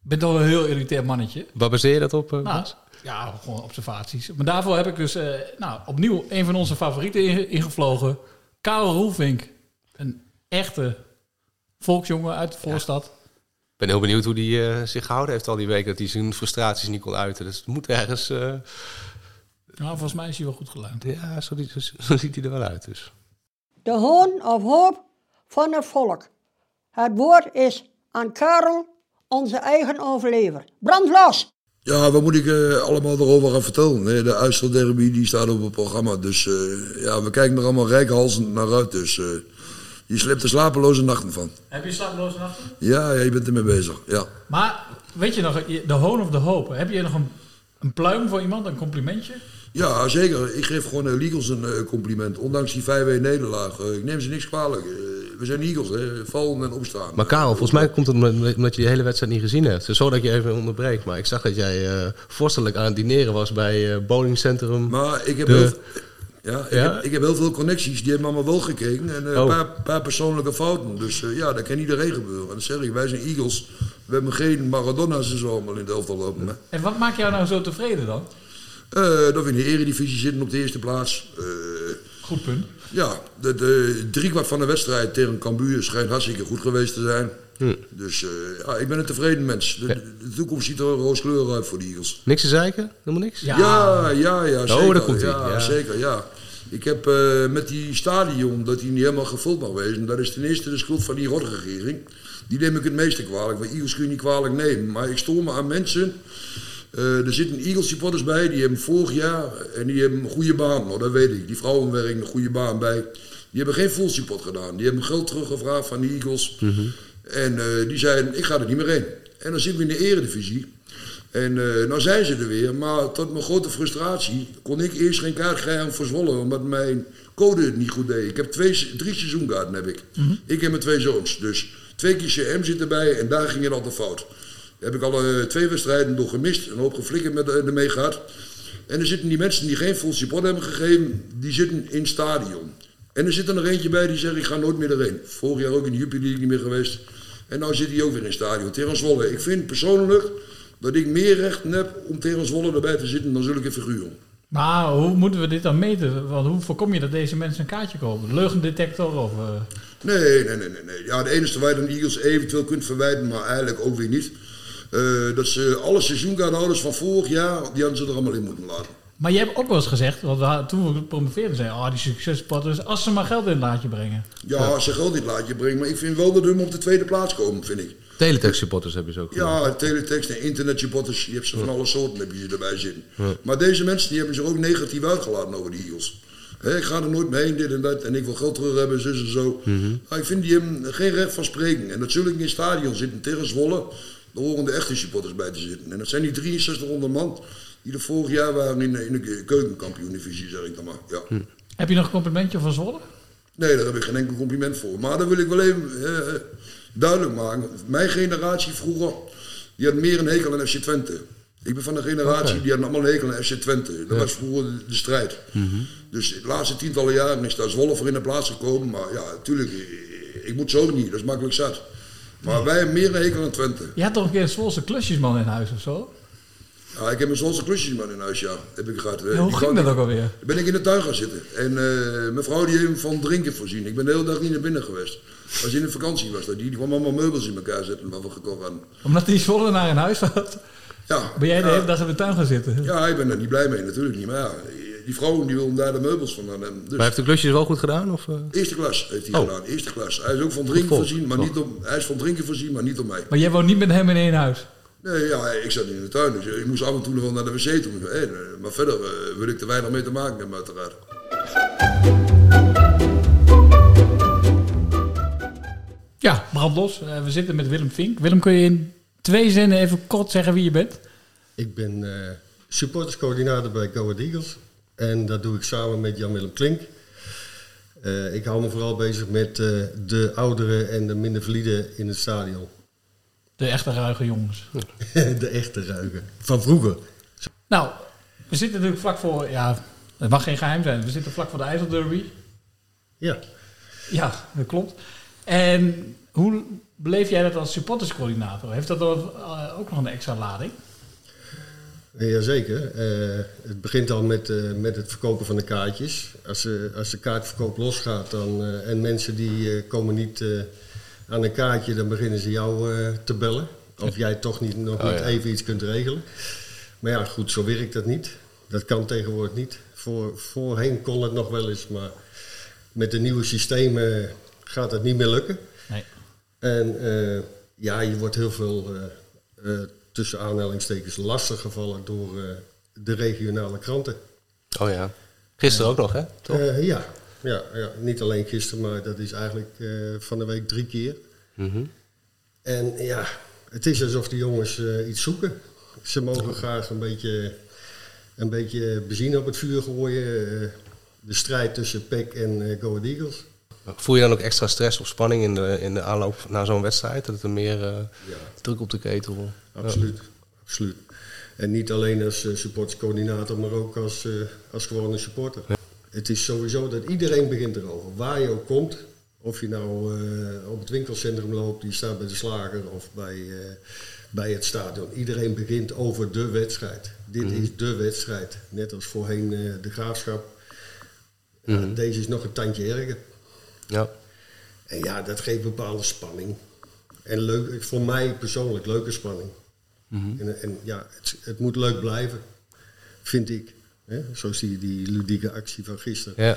[SPEAKER 2] bent al een heel elitair mannetje.
[SPEAKER 8] Waar baseer je dat op? eh,
[SPEAKER 2] Nou,
[SPEAKER 8] Bas?
[SPEAKER 2] ja, gewoon observaties. Maar daarvoor heb ik dus eh, nou, opnieuw een van onze favorieten inge- ingevlogen. Karel Roelvink. Een echte volksjongen uit de voorstad.
[SPEAKER 8] Ik ben heel benieuwd hoe die eh, zich gehouden heeft al die weken. Dat hij zijn frustraties niet kon uiten. Dus het moet ergens... eh,
[SPEAKER 2] Nou, volgens mij is hij wel goed geluimd.
[SPEAKER 8] ja, zo, die- zo- zo ziet hij er wel uit dus.
[SPEAKER 7] De hoon of hoop van het volk. Het woord is aan Karel, onze eigen overlever. Brand los!
[SPEAKER 13] Ja, wat moet ik eh, allemaal erover gaan vertellen? hè? De IJsselderby die staat op het programma. Dus eh, ja, we kijken er allemaal rijkhalsend naar uit. Dus eh, je slaapt er slapeloze nachten van.
[SPEAKER 2] Heb je slapeloze nachten?
[SPEAKER 13] Ja, ja, je bent ermee bezig. Ja.
[SPEAKER 2] Maar weet je nog, de hoon of de hoop. Heb je nog een, een pluim voor iemand, een complimentje?
[SPEAKER 13] ja, zeker. Ik geef gewoon de Legals een eh, compliment. Ondanks die 5-1 nederlaag. Eh, ik neem ze niks kwalijk. Eh, We zijn Eagles, hè. vallen en opstaan.
[SPEAKER 8] Maar Karel, volgens mij komt het omdat- omdat je die hele wedstrijd niet gezien hebt. Dus zo dat ik je even onderbreekt. Maar ik zag dat jij eh, vorstelijk aan het dineren was bij eh Bowling Centrum.
[SPEAKER 13] Maar ik heb,
[SPEAKER 8] De-
[SPEAKER 13] heel, veel- ja, ik,
[SPEAKER 8] Ja?
[SPEAKER 13] heb, ik heb heel veel connecties, die hebben allemaal wel gekeken. En eh, een
[SPEAKER 8] Oh.
[SPEAKER 13] paar, paar persoonlijke fouten. Dus eh, ja, dat kan iedereen gebeuren. En dat zeg ik, wij zijn Eagles. We hebben geen Maradona's en zo allemaal in het elftal lopen. Hè.
[SPEAKER 2] En wat maakt jou nou zo tevreden dan?
[SPEAKER 13] Eh, dat we in de eredivisie zitten op de eerste plaats. Eh,
[SPEAKER 2] Goed punt.
[SPEAKER 13] Ja, de, de driekwart van de wedstrijd tegen Cambuur schijnt hartstikke goed geweest te zijn.
[SPEAKER 8] Hm.
[SPEAKER 13] Dus eh, ja, ik ben een tevreden mens. De, de- de toekomst ziet er rooskleurig uit voor de Eagles.
[SPEAKER 8] Niks te zeiken? Helemaal niks?
[SPEAKER 13] Ja, ja, ja,
[SPEAKER 8] oh,
[SPEAKER 13] zeker.
[SPEAKER 8] daar komt hij.
[SPEAKER 13] ja, zeker, ja. Ik heb eh, met die stadion, dat die niet helemaal gevuld mag wezen, dat is ten eerste de schuld van die rotregering. Die neem ik het meeste kwalijk, want Eagles kun je niet kwalijk nemen. Maar ik stoor me aan mensen. Eh, er zitten Eagles supporters bij, die hebben vorig jaar, eh, en die hebben een goede baan, nou, dat weet ik. Die vrouwen werken een goede baan bij. Die hebben geen full support gedaan. Die hebben geld teruggevraagd van de Eagles.
[SPEAKER 8] Mhm.
[SPEAKER 13] En eh, die zeiden, ik ga er niet meer heen. En dan zitten we in de eredivisie. En eh nou zijn ze er weer, maar tot mijn grote frustratie kon ik eerst geen kaart krijgen voor Zwolle, omdat mijn code het niet goed deed. Ik heb twee, se- drie seizoenkaarten heb ik.
[SPEAKER 14] Mhm.
[SPEAKER 13] Ik en mijn twee zoons. Dus twee keer CM zit erbij en daar ging het altijd fout. Daar heb ik al eh, twee wedstrijden door gemist, een hoop geflikkerd met, eh, ermee gehad. En er zitten die mensen die geen full support hebben gegeven, die zitten in het stadion. En er zit er nog eentje bij die zegt, ik ga nooit meer erheen. Vorig jaar ook in de Jupiler League niet meer geweest. En nou zit hij ook weer in het stadion tegen Zwolle. Ik vind persoonlijk dat ik meer recht heb om tegen Zwolle erbij te zitten dan zulke figuren.
[SPEAKER 2] Maar hoe moeten we dit dan meten? Want hoe voorkom je dat deze mensen een kaartje kopen? Leugendetector of... eh,
[SPEAKER 13] Nee, nee, nee, nee. nee. Ja, de enige waar je dan de Eagles eventueel kunt verwijten, maar eigenlijk ook weer niet. eh, dat ze alle seizoenkaarthouders van vorig jaar, die hadden ze er allemaal in moeten laten.
[SPEAKER 2] Maar je hebt ook wel eens gezegd, want we hadden- toen we promoveerden, zei je, oh, die succespotters, als ze maar geld in het laadje brengen.
[SPEAKER 13] Ja, ze geld niet laat je brengen, maar ik vind wel dat hun op de tweede plaats komen, vind ik.
[SPEAKER 8] Teletext supporters hebben ze ook.
[SPEAKER 13] Ja, teletext en internetjebotters, je hebt ze van alle soorten heb je ze erbij zitten.
[SPEAKER 8] Ja.
[SPEAKER 13] Maar deze mensen die hebben zich ook negatief uitgelaten over de Eagles. Hè, ik ga er nooit mee heen, dit en dat, en ik wil geld terug hebben, zus en zo.
[SPEAKER 8] Mhm.
[SPEAKER 13] Maar ik vind die hebben geen recht van spreken. En natuurlijk in het stadion zitten tegen Zwolle. Daar horen de echte supporters bij te zitten. En dat zijn die 6300 man die er vorig jaar waren in de, in de keukenkampioen-divisie, zeg ik dan maar. Ja.
[SPEAKER 8] Mhm.
[SPEAKER 2] Heb je nog een complimentje van Zwolle?
[SPEAKER 13] Nee, daar heb ik geen enkel compliment voor. Maar dat wil ik wel even eh, duidelijk maken. Mijn generatie vroeger, die had meer een hekel aan FC Twente. Ik ben van de generatie,
[SPEAKER 8] Oké.
[SPEAKER 13] die hadden allemaal een hekel aan FC Twente. Dat
[SPEAKER 8] Ja. Mhm.
[SPEAKER 13] was vroeger de- de strijd. Dus de laatste tientallen jaren is daar Zwolle voor in de plaats gekomen. Maar ja, natuurlijk, ik, ik moet zo niet. Dat is makkelijk zat. Maar wij hebben meer een hekel aan Twente.
[SPEAKER 2] Je had toch een keer een Zwolse klusjesman in huis of zo?
[SPEAKER 13] Ja, ik heb een Zwolse klusjesman in huis, ja. Heb ik gehad.
[SPEAKER 2] Ja, hoe ging dat ook alweer?
[SPEAKER 13] Ben ik in de tuin gaan zitten. En eh, mijn vrouw die heeft hem van drinken voorzien. Ik ben de hele dag niet naar binnen geweest. Als in een vakantie was dat. Die, die kwam allemaal meubels in elkaar zetten wat we gekocht hadden.
[SPEAKER 2] Omdat die Zwolle naar in huis had,
[SPEAKER 13] Ja,
[SPEAKER 2] ben jij de
[SPEAKER 13] ja.
[SPEAKER 2] hele dag in de tuin gaan zitten.
[SPEAKER 13] Ja, ik ben daar niet blij mee, natuurlijk niet. Maar ja, die vrouw die wil daar de meubels van aan hem. Dus
[SPEAKER 8] Maar heeft de klusjes wel goed gedaan? Of, eh?
[SPEAKER 13] eerste klas heeft hij
[SPEAKER 8] Oh.
[SPEAKER 13] gedaan. Eerste klas. Hij is ook van
[SPEAKER 8] Goed
[SPEAKER 13] drinken
[SPEAKER 8] volk, Oh.
[SPEAKER 13] voorzien, maar
[SPEAKER 8] toch?
[SPEAKER 13] niet om, hij is van drinken voorzien, maar niet om mij.
[SPEAKER 2] Maar jij woont niet met hem in één huis.
[SPEAKER 13] Nee, ja, ik zat in de tuin. Dus ik moest af en toe nog wel naar de wc toe. Hé, Maar verder eh, wil ik er weinig mee te maken hebben, uiteraard.
[SPEAKER 2] Ja, brand los. Eh, we zitten met Willem Vink. Willem, kun je in twee zinnen even kort zeggen wie je bent?
[SPEAKER 15] Ik ben eh, supporterscoördinator bij Go Ahead Eagles. En dat doe ik samen met Jan-Willem Klink. Eh, ik hou me vooral bezig met eh, de ouderen en de minder valide in het stadion.
[SPEAKER 2] De echte ruige jongens.
[SPEAKER 15] de echte ruiken. Van vroeger.
[SPEAKER 2] Nou, we zitten natuurlijk vlak voor... Ja, het mag geen geheim zijn. We zitten vlak voor de IJsselderby.
[SPEAKER 15] Ja.
[SPEAKER 2] Ja, dat klopt. En hoe beleef jij dat als supporterscoördinator? Heeft dat dan, eh, ook nog een extra lading?
[SPEAKER 15] Jazeker. Eh, het begint al met, eh, met het verkopen van de kaartjes. Als, eh, als de kaartverkoop losgaat dan, eh, en mensen die eh, komen niet eh, aan een kaartje, dan beginnen ze jou eh, te bellen. Of jij toch niet, nog
[SPEAKER 8] Oh,
[SPEAKER 15] niet
[SPEAKER 8] ja.
[SPEAKER 15] even iets kunt regelen. Maar ja, goed, zo werkt dat niet. Dat kan tegenwoordig niet. Voor, voorheen kon het nog wel eens, maar met de nieuwe systemen gaat dat niet meer lukken.
[SPEAKER 2] Nee.
[SPEAKER 15] En eh, ja, je wordt heel veel eh, eh, tussen aanhalingstekens lastig gevallen door eh, de regionale kranten.
[SPEAKER 8] Oh ja. Gisteren ook nog, hè? Toch?
[SPEAKER 15] Eh, ja. Ja, ja, niet alleen gisteren, maar dat is eigenlijk eh, van de week drie keer.
[SPEAKER 8] Mhm.
[SPEAKER 15] En ja, het is alsof de jongens eh, iets zoeken. Ze mogen graag een beetje, een beetje benzine op het vuur gooien. eh, de strijd tussen PEC en eh Go Ahead Eagles.
[SPEAKER 8] Voel je dan ook extra stress of spanning in de, in de aanloop naar zo'n wedstrijd? Dat er meer eh, druk op de ketel?
[SPEAKER 13] Absoluut, absoluut. En niet alleen als eh, supporterscoördinator, maar ook als, eh, als gewone supporter. Het is sowieso dat iedereen begint erover. Waar je ook komt, of je nou eh, op het winkelcentrum loopt, je staat bij de slager of bij, eh, bij het stadion. Iedereen begint over de wedstrijd. Dit
[SPEAKER 8] Mhm.
[SPEAKER 13] is de wedstrijd. Net als voorheen eh, de graafschap. Ja,
[SPEAKER 8] Mhm.
[SPEAKER 13] Deze is nog een tandje erger.
[SPEAKER 8] Ja.
[SPEAKER 13] En ja, dat geeft bepaalde spanning. En leuk, voor mij persoonlijk leuke spanning. En, en ja, het, het moet leuk blijven, vind ik. Hè? Zoals die, die ludieke actie van gisteren.
[SPEAKER 8] Ja.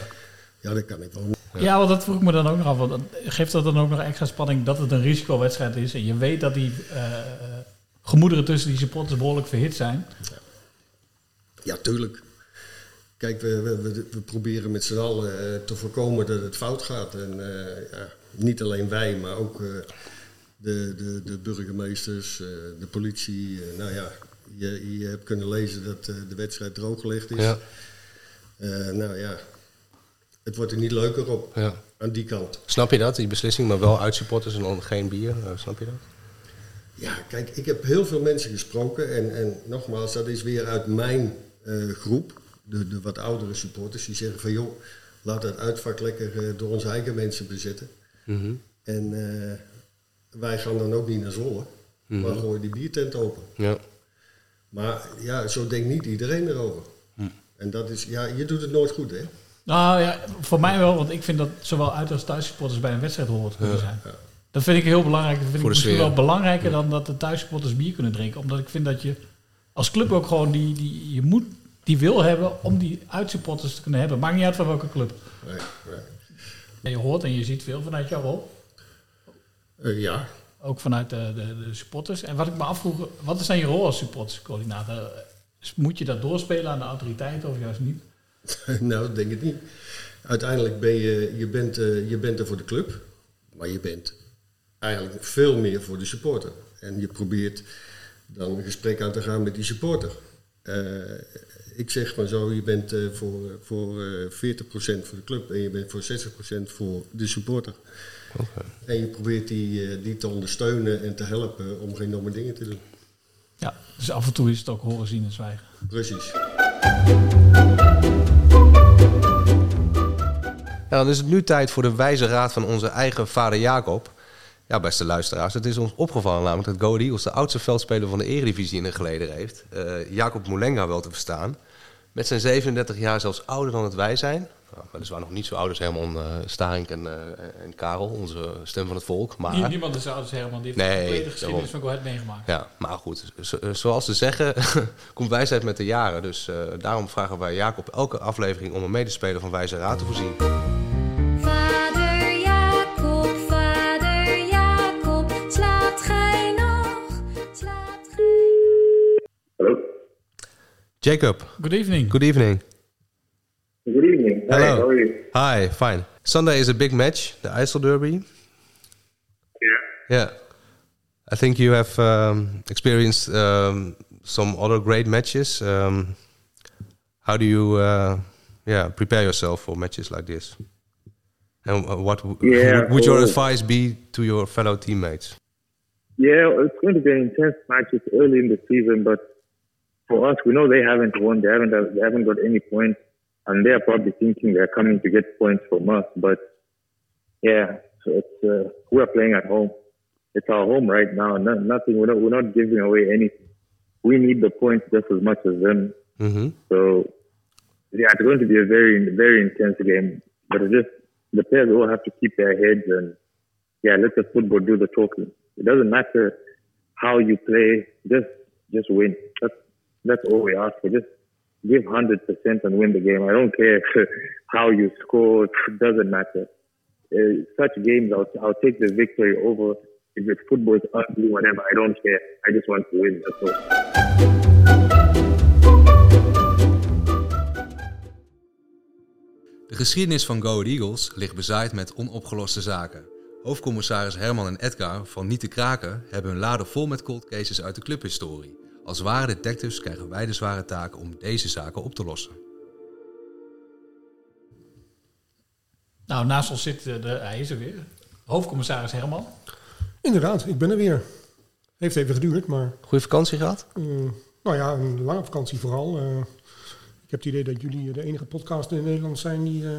[SPEAKER 13] ja, dat kan ik wel.
[SPEAKER 2] Ja, want dat vroeg ik me dan ook nog af. Want dat- geeft dat dan ook nog extra spanning dat het een risicowedstrijd is? En je weet dat die eh, gemoederen tussen die supporters behoorlijk verhit zijn.
[SPEAKER 13] Ja, tuurlijk. Kijk, we, we, we, we proberen met z'n allen eh, te voorkomen dat het fout gaat. En eh, ja, niet alleen wij, maar ook eh, de, de, de burgemeesters, eh, de politie. eh, nou ja, je, je hebt kunnen lezen dat eh, de wedstrijd drooggelegd is.
[SPEAKER 8] Ja.
[SPEAKER 13] Eh, nou ja, het wordt er niet leuker op
[SPEAKER 8] Ja.
[SPEAKER 13] aan die kant.
[SPEAKER 8] Snap je dat, die beslissing? Maar wel uit supporters en dan geen bier. Eh, snap je dat?
[SPEAKER 13] Ja, kijk, ik heb heel veel mensen gesproken. En, en nogmaals, dat is weer uit mijn eh, groep. De, de wat oudere supporters. Die zeggen van, joh, laat dat uitvak lekker eh, door onze eigen mensen bezetten. En eh, wij gaan dan ook niet naar Zwolle.
[SPEAKER 8] Mhm.
[SPEAKER 13] Maar gooien die biertent open.
[SPEAKER 8] Ja.
[SPEAKER 13] Maar ja, zo denkt niet iedereen erover.
[SPEAKER 8] Hm.
[SPEAKER 13] En dat is, ja, je doet het nooit goed, hè?
[SPEAKER 2] Nou ja, voor mij wel, want ik vind dat zowel uit- als thuissupporters bij een wedstrijd horen te kunnen
[SPEAKER 13] Ja.
[SPEAKER 2] zijn. Dat vind ik heel belangrijk. Dat vind
[SPEAKER 8] Voor
[SPEAKER 2] ik
[SPEAKER 8] de
[SPEAKER 2] misschien
[SPEAKER 8] sfeer.
[SPEAKER 2] wel belangrijker dan dat de thuissupporters bier kunnen drinken. Omdat ik vind dat je als club ook gewoon die, die, je moet die wil hebben om die uitsupporters te kunnen hebben. Maakt niet uit van welke club.
[SPEAKER 13] Nee, nee.
[SPEAKER 2] En je hoort en je ziet veel vanuit jouw rol.
[SPEAKER 13] Eh, ja.
[SPEAKER 2] Ook vanuit de, de, de supporters. En wat ik me afvroeg, wat is dan je rol als supporterscoördinator? Is- Moet je dat doorspelen aan de autoriteiten of juist niet?
[SPEAKER 13] nou, dat denk ik niet. Uiteindelijk ben je, je, bent, eh, je bent er voor de club, maar je bent eigenlijk veel meer voor de supporter. En je probeert dan een gesprek aan te gaan met die supporter. Eh, ik zeg maar zo, je bent eh, voor, voor eh, 40% voor de club en je bent voor 60% voor de supporter. En je probeert die, eh, die te ondersteunen en te helpen om geen domme dingen te doen.
[SPEAKER 2] Ja, dus af en toe is het ook horen, zien en zwijgen.
[SPEAKER 13] Precies.
[SPEAKER 8] Ja, dan is het nu tijd voor de wijze raad van onze eigen vader Jacob. Ja, beste luisteraars, het is ons opgevallen namelijk dat Go Ahead Eagles de oudste veldspeler van de Eredivisie in de geleden heeft. eh, Jacob Moulenga wel te verstaan. Met zijn 37 jaar zelfs ouder dan het wij zijn. Nou, weliswaar nog niet zo oud als Herman eh Starink en, eh, en Karel, onze stem van het volk. Maar...
[SPEAKER 2] Nie- Niemand is ouders helemaal. Die heeft de complete geschiedenis van
[SPEAKER 8] daarom.
[SPEAKER 2] Go Ahead meegemaakt.
[SPEAKER 8] Ja, maar goed, zo- eh, zoals ze zeggen, komt wijsheid met de jaren. Dus eh, daarom vragen wij Jacob elke aflevering om een medespeler van Wijze Raad te voorzien.
[SPEAKER 16] Vader Jacob, vader Jacob, slaapt gij nog? Slaapt
[SPEAKER 8] Jacob.
[SPEAKER 2] Good evening.
[SPEAKER 8] Good evening.
[SPEAKER 12] Good evening. Hi,
[SPEAKER 8] Hello.
[SPEAKER 12] how are you?
[SPEAKER 8] Hi, fine. Sunday is a big match, the IJssel Derby.
[SPEAKER 12] Yeah.
[SPEAKER 8] Yeah. I think you have um, experienced um, some other great matches. Um, how do you uh, yeah, prepare yourself for matches like this? And uh, what w-
[SPEAKER 12] Yeah,
[SPEAKER 8] would- would your
[SPEAKER 12] cool.
[SPEAKER 8] advice be to your fellow teammates?
[SPEAKER 12] Yeah, it's going to be an intense match. It's early in the season, but for us, we know they haven't won. They haven't they haven't got any points, and they are probably thinking they're coming to get points from us. But yeah, so it's uh, we are playing at home. It's our home right now. No, nothing. We're not, we're not giving away anything. We need the points just as much as them.
[SPEAKER 8] Mm-hmm.
[SPEAKER 12] So yeah, it's going to be a very very intense game. But it's just the players all have to keep their heads and yeah, let the football do the talking. It doesn't matter how you play, just just win. That's that's all we ask for. Just give hundred percent and win the game. I don't care if, how you score. It doesn't matter. Uh, such games, I'll, I'll take the victory over. If it's football, it's ugly, whatever. I don't care. I just want to win. That's all.
[SPEAKER 8] De geschiedenis van Go Ahead Eagles ligt bezaaid met onopgeloste zaken. Hoofdcommissaris Herman en Edgar van Niet te Kraken hebben hun laden vol met cold cases uit de clubhistorie. Als ware detectives krijgen wij de zware taak om deze zaken op te lossen.
[SPEAKER 2] Nou, naast ons zit eh, de, hij is er weer. Hoofdcommissaris Herman.
[SPEAKER 17] Inderdaad, ik ben er weer. Heeft even geduurd, maar
[SPEAKER 8] Goede vakantie gehad?
[SPEAKER 17] eh, nou ja, een lange vakantie vooral. Eh, ik heb het idee dat jullie de enige podcast in Nederland zijn die eh,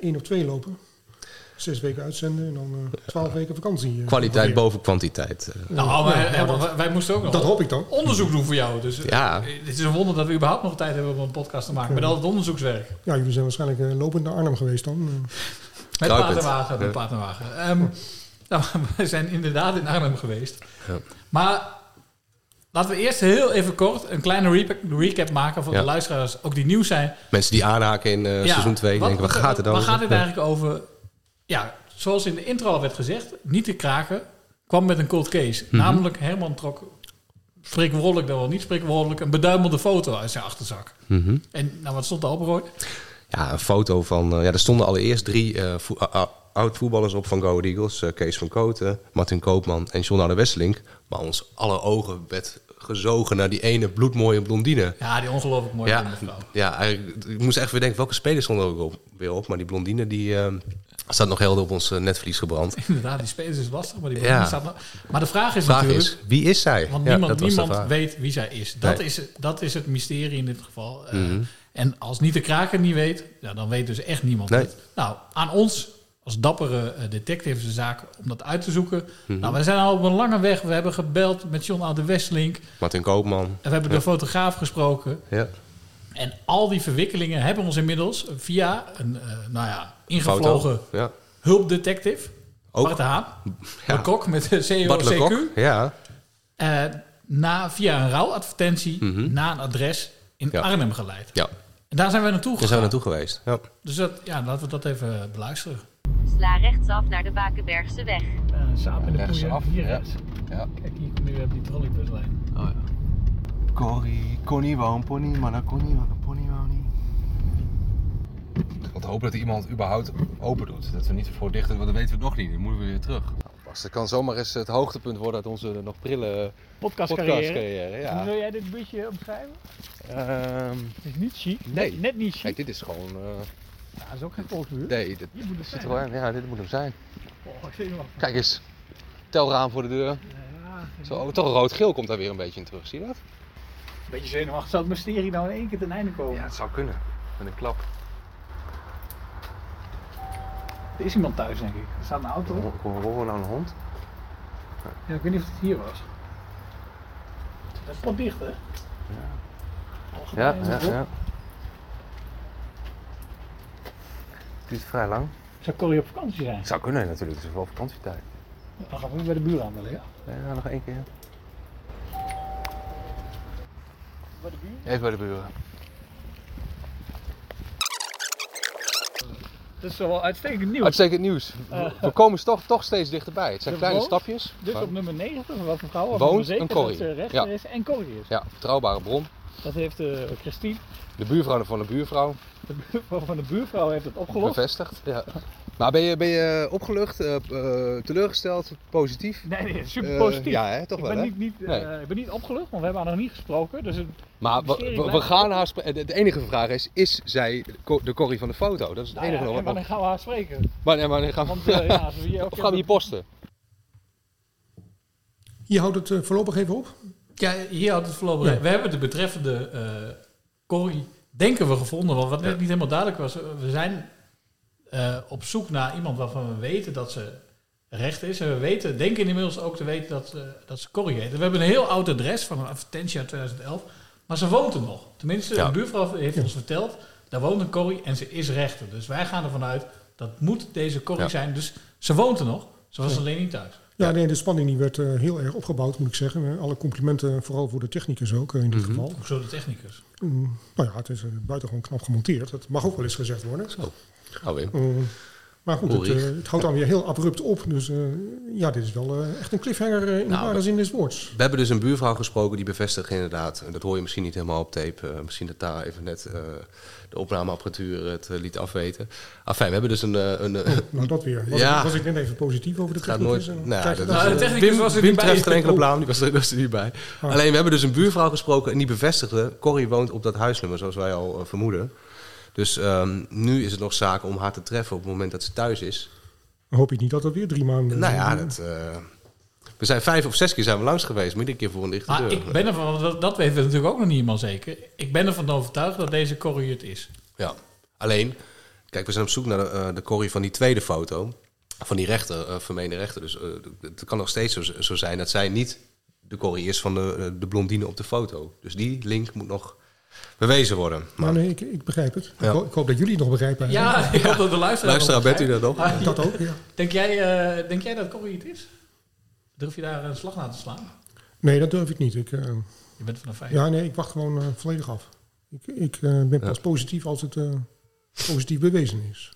[SPEAKER 17] één of twee lopen. Zes weken uitzenden en dan eh, twaalf weken vakantie. eh,
[SPEAKER 8] Kwaliteit
[SPEAKER 17] ongeveer.
[SPEAKER 8] boven kwantiteit. eh.
[SPEAKER 2] Nou, maar
[SPEAKER 17] Ja, nou,
[SPEAKER 2] Herman,
[SPEAKER 17] dat-
[SPEAKER 2] wij- wij moesten ook nog
[SPEAKER 17] dat hoop ik dan.
[SPEAKER 2] onderzoek doen voor jou. Dus eh,
[SPEAKER 8] Ja.
[SPEAKER 2] het is een wonder dat we überhaupt nog tijd hebben om een podcast te maken. Met al het onderzoekswerk.
[SPEAKER 17] Ja, jullie zijn waarschijnlijk eh, lopend naar Arnhem geweest dan. Eh,
[SPEAKER 2] Met
[SPEAKER 17] Kruipend.
[SPEAKER 2] paardenwagen. Met
[SPEAKER 17] Ja.
[SPEAKER 2] paardenwagen. Ehm, nou, we zijn inderdaad in Arnhem geweest. Maar laten we eerst heel even kort een kleine repa- recap maken voor
[SPEAKER 8] Ja.
[SPEAKER 2] de luisteraars, ook die nieuw zijn.
[SPEAKER 8] Mensen die aanhaken in eh,
[SPEAKER 2] Ja,
[SPEAKER 8] seizoen 2
[SPEAKER 2] wat-
[SPEAKER 8] denken, waar gaat het dan?
[SPEAKER 2] Waar gaat het eigenlijk over? Ja, zoals in de intro al werd gezegd, niet te kraken kwam met een cold case.
[SPEAKER 8] Mhm.
[SPEAKER 2] Namelijk Herman trok spreekwoordelijk dan wel niet spreekwoordelijk een beduimelde foto uit zijn achterzak.
[SPEAKER 8] Mhm.
[SPEAKER 2] En nou, wat stond daarop, Roy?
[SPEAKER 8] Ja, een foto van... eh, ja, er stonden allereerst drie eh, vo- a- a- oud-voetballers op van Go Ahead Eagles. eh, Kees van Kooten, Martin Koopman en John de Wesseling. Maar ons alle ogen werd gezogen naar die ene bloedmooie blondine.
[SPEAKER 2] Ja, die ongelooflijk mooie
[SPEAKER 8] Ja,
[SPEAKER 2] blonde vrouw.
[SPEAKER 8] ja eigenlijk, ik moest echt weer denken, welke spelers stonden er ook op, weer op? Maar die blondine, die eh, staat nog heel op ons eh, netvlies gebrand.
[SPEAKER 2] Inderdaad, die spelers is lastig, maar die
[SPEAKER 8] Ja.
[SPEAKER 2] blondine staat nog- Maar de vraag is
[SPEAKER 8] Vraag
[SPEAKER 2] natuurlijk...
[SPEAKER 8] is, wie is zij?
[SPEAKER 2] Want
[SPEAKER 8] Ja,
[SPEAKER 2] niemand,
[SPEAKER 8] dat was de
[SPEAKER 2] niemand
[SPEAKER 8] vraag.
[SPEAKER 2] weet wie zij is. Dat,
[SPEAKER 8] Nee.
[SPEAKER 2] is. dat is het mysterie in dit geval. Eh,
[SPEAKER 8] Mhm.
[SPEAKER 2] En als niet de kraker niet weet, ja, dan weet dus echt niemand
[SPEAKER 8] Nee.
[SPEAKER 2] het. Nou, aan ons als dappere eh, detectives de zaak om dat uit te zoeken.
[SPEAKER 8] Mhm.
[SPEAKER 2] Nou, we zijn al op een lange weg. We hebben gebeld met John aan de Westlink.
[SPEAKER 8] Martin Koopman.
[SPEAKER 2] En we hebben de fotograaf gesproken.
[SPEAKER 8] Ja.
[SPEAKER 2] En al die verwikkelingen hebben ons inmiddels via een eh, nou ja, ingevlogen
[SPEAKER 8] Foto, ja.
[SPEAKER 2] hulpdetective.
[SPEAKER 8] Ook.
[SPEAKER 2] Bart de Haan.
[SPEAKER 8] Ja.
[SPEAKER 2] De kok met de
[SPEAKER 8] Bart
[SPEAKER 2] COCQ.
[SPEAKER 8] Lecoq, ja.
[SPEAKER 2] Eh, na, via een rouwadvertentie
[SPEAKER 8] Mhm.
[SPEAKER 2] naar een adres in
[SPEAKER 8] Ja.
[SPEAKER 2] Arnhem geleid.
[SPEAKER 8] Ja,
[SPEAKER 2] En daar zijn we naartoe
[SPEAKER 8] daar
[SPEAKER 2] gegaan.
[SPEAKER 8] zijn we naartoe geweest. Ja.
[SPEAKER 2] Dus dat, ja, laten we dat even beluisteren.
[SPEAKER 18] Sla rechtsaf naar de Bakenbergse weg.
[SPEAKER 2] Saap
[SPEAKER 18] in de Rechtsaf, koeien,
[SPEAKER 2] hier rechts. Kijk, hier kom je weer op die trolleybuslijn.
[SPEAKER 19] Oh ja. Corrie, Connie wou een pony, maar dat kon niet, want een pony wou niet.
[SPEAKER 8] Want hopen dat iemand überhaupt open doet. Dat we niet voor dicht want dat weten we nog niet. Dan moeten we weer terug. Bas, dat kan zomaar eens Dus het hoogtepunt worden uit onze nog prille podcastcarrière, ja.
[SPEAKER 2] Wil jij dit beetje omschrijven? Ehm,
[SPEAKER 8] is niet chic. Nee. Net niet chic. Kijk, dit is gewoon... Ja, dat is ook geen volksmuur. Nee, dit,
[SPEAKER 2] Hier moet het
[SPEAKER 8] zit er
[SPEAKER 2] zijn.
[SPEAKER 8] wel in. Ja, dit moet hem zijn.
[SPEAKER 2] Oh, ik zie hem al.
[SPEAKER 8] Kijk eens. Telraam voor de deur. Zo, oh, toch rood-geel komt daar weer een beetje in terug. Zie je dat?
[SPEAKER 2] Een beetje zenuwachtig. Zou het mysterie nou in één keer ten einde komen?
[SPEAKER 8] Ja, het zou kunnen. Met een klap.
[SPEAKER 2] Er is iemand thuis, denk ik. Er staat een auto.
[SPEAKER 8] Horen we nou een hond?
[SPEAKER 2] Ja, ik weet niet of het hier was. Dat is wat dicht, hè?
[SPEAKER 8] Ja, ja, ja. Duurt vrij lang.
[SPEAKER 2] Zou Corrie op vakantie zijn?
[SPEAKER 8] Zou kunnen natuurlijk, het is wel vakantietijd.
[SPEAKER 2] Dan gaan we weer bij de buur aanbellen, ja?
[SPEAKER 8] Ja, nog één keer. Even bij de buren.
[SPEAKER 2] Dat is wel uitstekend nieuws.
[SPEAKER 8] Uitstekend nieuws.
[SPEAKER 2] Eh.
[SPEAKER 8] We komen toch, toch steeds dichterbij. Het zijn
[SPEAKER 2] Er
[SPEAKER 8] kleine
[SPEAKER 2] woont
[SPEAKER 8] stapjes.
[SPEAKER 2] Dus
[SPEAKER 8] maar-
[SPEAKER 2] op nummer 90, wat mevrouw
[SPEAKER 8] Woont
[SPEAKER 2] woont
[SPEAKER 8] een
[SPEAKER 2] zeker
[SPEAKER 8] Corrie.
[SPEAKER 2] dat ze eh, rechter
[SPEAKER 8] Ja.
[SPEAKER 2] is en Corrie is.
[SPEAKER 8] Ja, betrouwbare bron.
[SPEAKER 2] Dat heeft eh, Christine,
[SPEAKER 8] De buurvrouw van de buurvrouw.
[SPEAKER 2] de buurvrouw van de buurvrouw, heeft het opgelost.
[SPEAKER 8] Bevestigd. Ja. Maar ben je, ben je opgelucht, eh, eh, teleurgesteld, positief?
[SPEAKER 2] Nee, nee, super
[SPEAKER 8] Eh,
[SPEAKER 2] positief.
[SPEAKER 8] ja, hè? toch
[SPEAKER 2] ik
[SPEAKER 8] wel
[SPEAKER 2] ben
[SPEAKER 8] hè?
[SPEAKER 2] Niet, niet,
[SPEAKER 8] Nee.
[SPEAKER 2] eh, ik ben niet opgelucht, want we hebben haar nog niet gesproken. Dus het
[SPEAKER 8] Maar we,
[SPEAKER 2] mysterie
[SPEAKER 8] we- we
[SPEAKER 2] blijft-
[SPEAKER 8] gaan haar spreken. De de enige vraag is: is zij co- de Corrie van de foto? Dat is het
[SPEAKER 2] Nou ja,
[SPEAKER 8] enige. nog
[SPEAKER 2] en
[SPEAKER 8] wat-
[SPEAKER 2] wanneer gaan we haar spreken?
[SPEAKER 8] Maar nee, maar dan gaan we,
[SPEAKER 2] Want, eh, ja, als we hier ook
[SPEAKER 8] of gaan we hier posten?
[SPEAKER 17] Hier houdt het eh, voorlopig even op.
[SPEAKER 2] Ja, hier houdt het voorlopig.
[SPEAKER 17] Ja.
[SPEAKER 2] We hebben de betreffende eh Corrie, denken we, gevonden. Want wat net niet helemaal duidelijk was, eh, we zijn eh, op zoek naar iemand waarvan we weten dat ze recht is. En we weten, denken inmiddels ook te weten dat, ze- dat ze Corrie heet. En We hebben een heel oud adres van een advertentie uit 2011. Maar ze woont er nog. Tenminste,
[SPEAKER 8] Ja.
[SPEAKER 2] de buurvrouw heeft ons verteld, daar woont een Corrie en ze is rechter. Dus wij gaan ervan uit, dat moet deze Corrie
[SPEAKER 8] Ja.
[SPEAKER 2] zijn. Dus ze woont er nog. Ze was
[SPEAKER 17] Ja.
[SPEAKER 2] alleen niet thuis.
[SPEAKER 17] Ja, nee, de spanning die werd eh, heel erg opgebouwd, moet ik zeggen. Eh, alle complimenten, vooral voor de technicus ook eh, in dit geval.
[SPEAKER 2] Hoezo de technicus?
[SPEAKER 17] Mm, nou ja, het is eh, buitengewoon knap gemonteerd. Dat mag ook wel eens gezegd worden. Zo.
[SPEAKER 8] Gaan we in.
[SPEAKER 17] maar goed, het, eh,
[SPEAKER 8] Ulrich.
[SPEAKER 17] het houdt dan weer heel abrupt op. Dus eh, ja, dit is wel eh, echt een cliffhanger eh, in
[SPEAKER 8] Nou,
[SPEAKER 17] de ware zin des woords.
[SPEAKER 8] We hebben dus een buurvrouw gesproken die bevestigt inderdaad. En dat hoor je misschien niet helemaal op tape. eh, misschien dat daar even net eh, de opnameapparatuur het eh, liet afweten. Afijn, we hebben dus een... eh, een eh,
[SPEAKER 17] Nou, dat weer. Was,
[SPEAKER 8] ja,
[SPEAKER 17] ik, was ik net even positief over de
[SPEAKER 8] het gaat
[SPEAKER 17] technicus?
[SPEAKER 8] nooit...
[SPEAKER 17] en dan
[SPEAKER 8] Nou,
[SPEAKER 17] krijg je
[SPEAKER 8] dat
[SPEAKER 17] dat
[SPEAKER 8] is-
[SPEAKER 17] weer-
[SPEAKER 8] Wim, Wim treft geen enkele blaam, die was er, was er niet bij.
[SPEAKER 17] Ah.
[SPEAKER 8] Alleen, we hebben dus een buurvrouw gesproken en die bevestigde... Corrie woont op dat huisnummer, zoals wij al eh, vermoeden. Dus ehm, nu is het nog zaak om haar te treffen op het moment dat ze thuis is.
[SPEAKER 17] Dan hoop ik niet dat dat weer drie maanden...
[SPEAKER 8] Nou ja, dat, eh, we zijn vijf of zes keer zijn we langs geweest, maar iedere keer voor een dichte
[SPEAKER 2] Maar
[SPEAKER 8] deur.
[SPEAKER 2] Ah, ik ben ervan, want dat, dat weten we natuurlijk ook nog niet helemaal zeker. Ik ben ervan overtuigd dat deze Corrie het is.
[SPEAKER 8] Ja, alleen, kijk, we zijn op zoek naar de, eh, de Corrie van die tweede foto. Van die rechter, eh, vermeende rechter. Dus eh, het kan nog steeds zo, zo zijn dat zij niet de Corrie is van de, eh, de blondine op de foto. Dus die link moet nog bewezen worden.
[SPEAKER 17] Maar nee, ik, ik begrijp het.
[SPEAKER 8] Ja.
[SPEAKER 17] Ik, ho- ik hoop dat jullie het nog begrijpen.
[SPEAKER 2] Ja, ik hoop dat de luisteraar...
[SPEAKER 8] Luisteraar,
[SPEAKER 2] nog-
[SPEAKER 8] bent u dat nog?
[SPEAKER 2] Ah,
[SPEAKER 17] Dat ook, ja.
[SPEAKER 2] Denk jij, eh, denk jij dat Corrie het is? Durf je daar een slag naar te slaan?
[SPEAKER 17] Nee, dat durf ik niet. Ik, eh,
[SPEAKER 2] Je bent van de vijf.
[SPEAKER 17] Ja, nee, ik wacht gewoon eh, volledig af. Ik, ik eh, ben pas positief als het eh, positief bewezen is.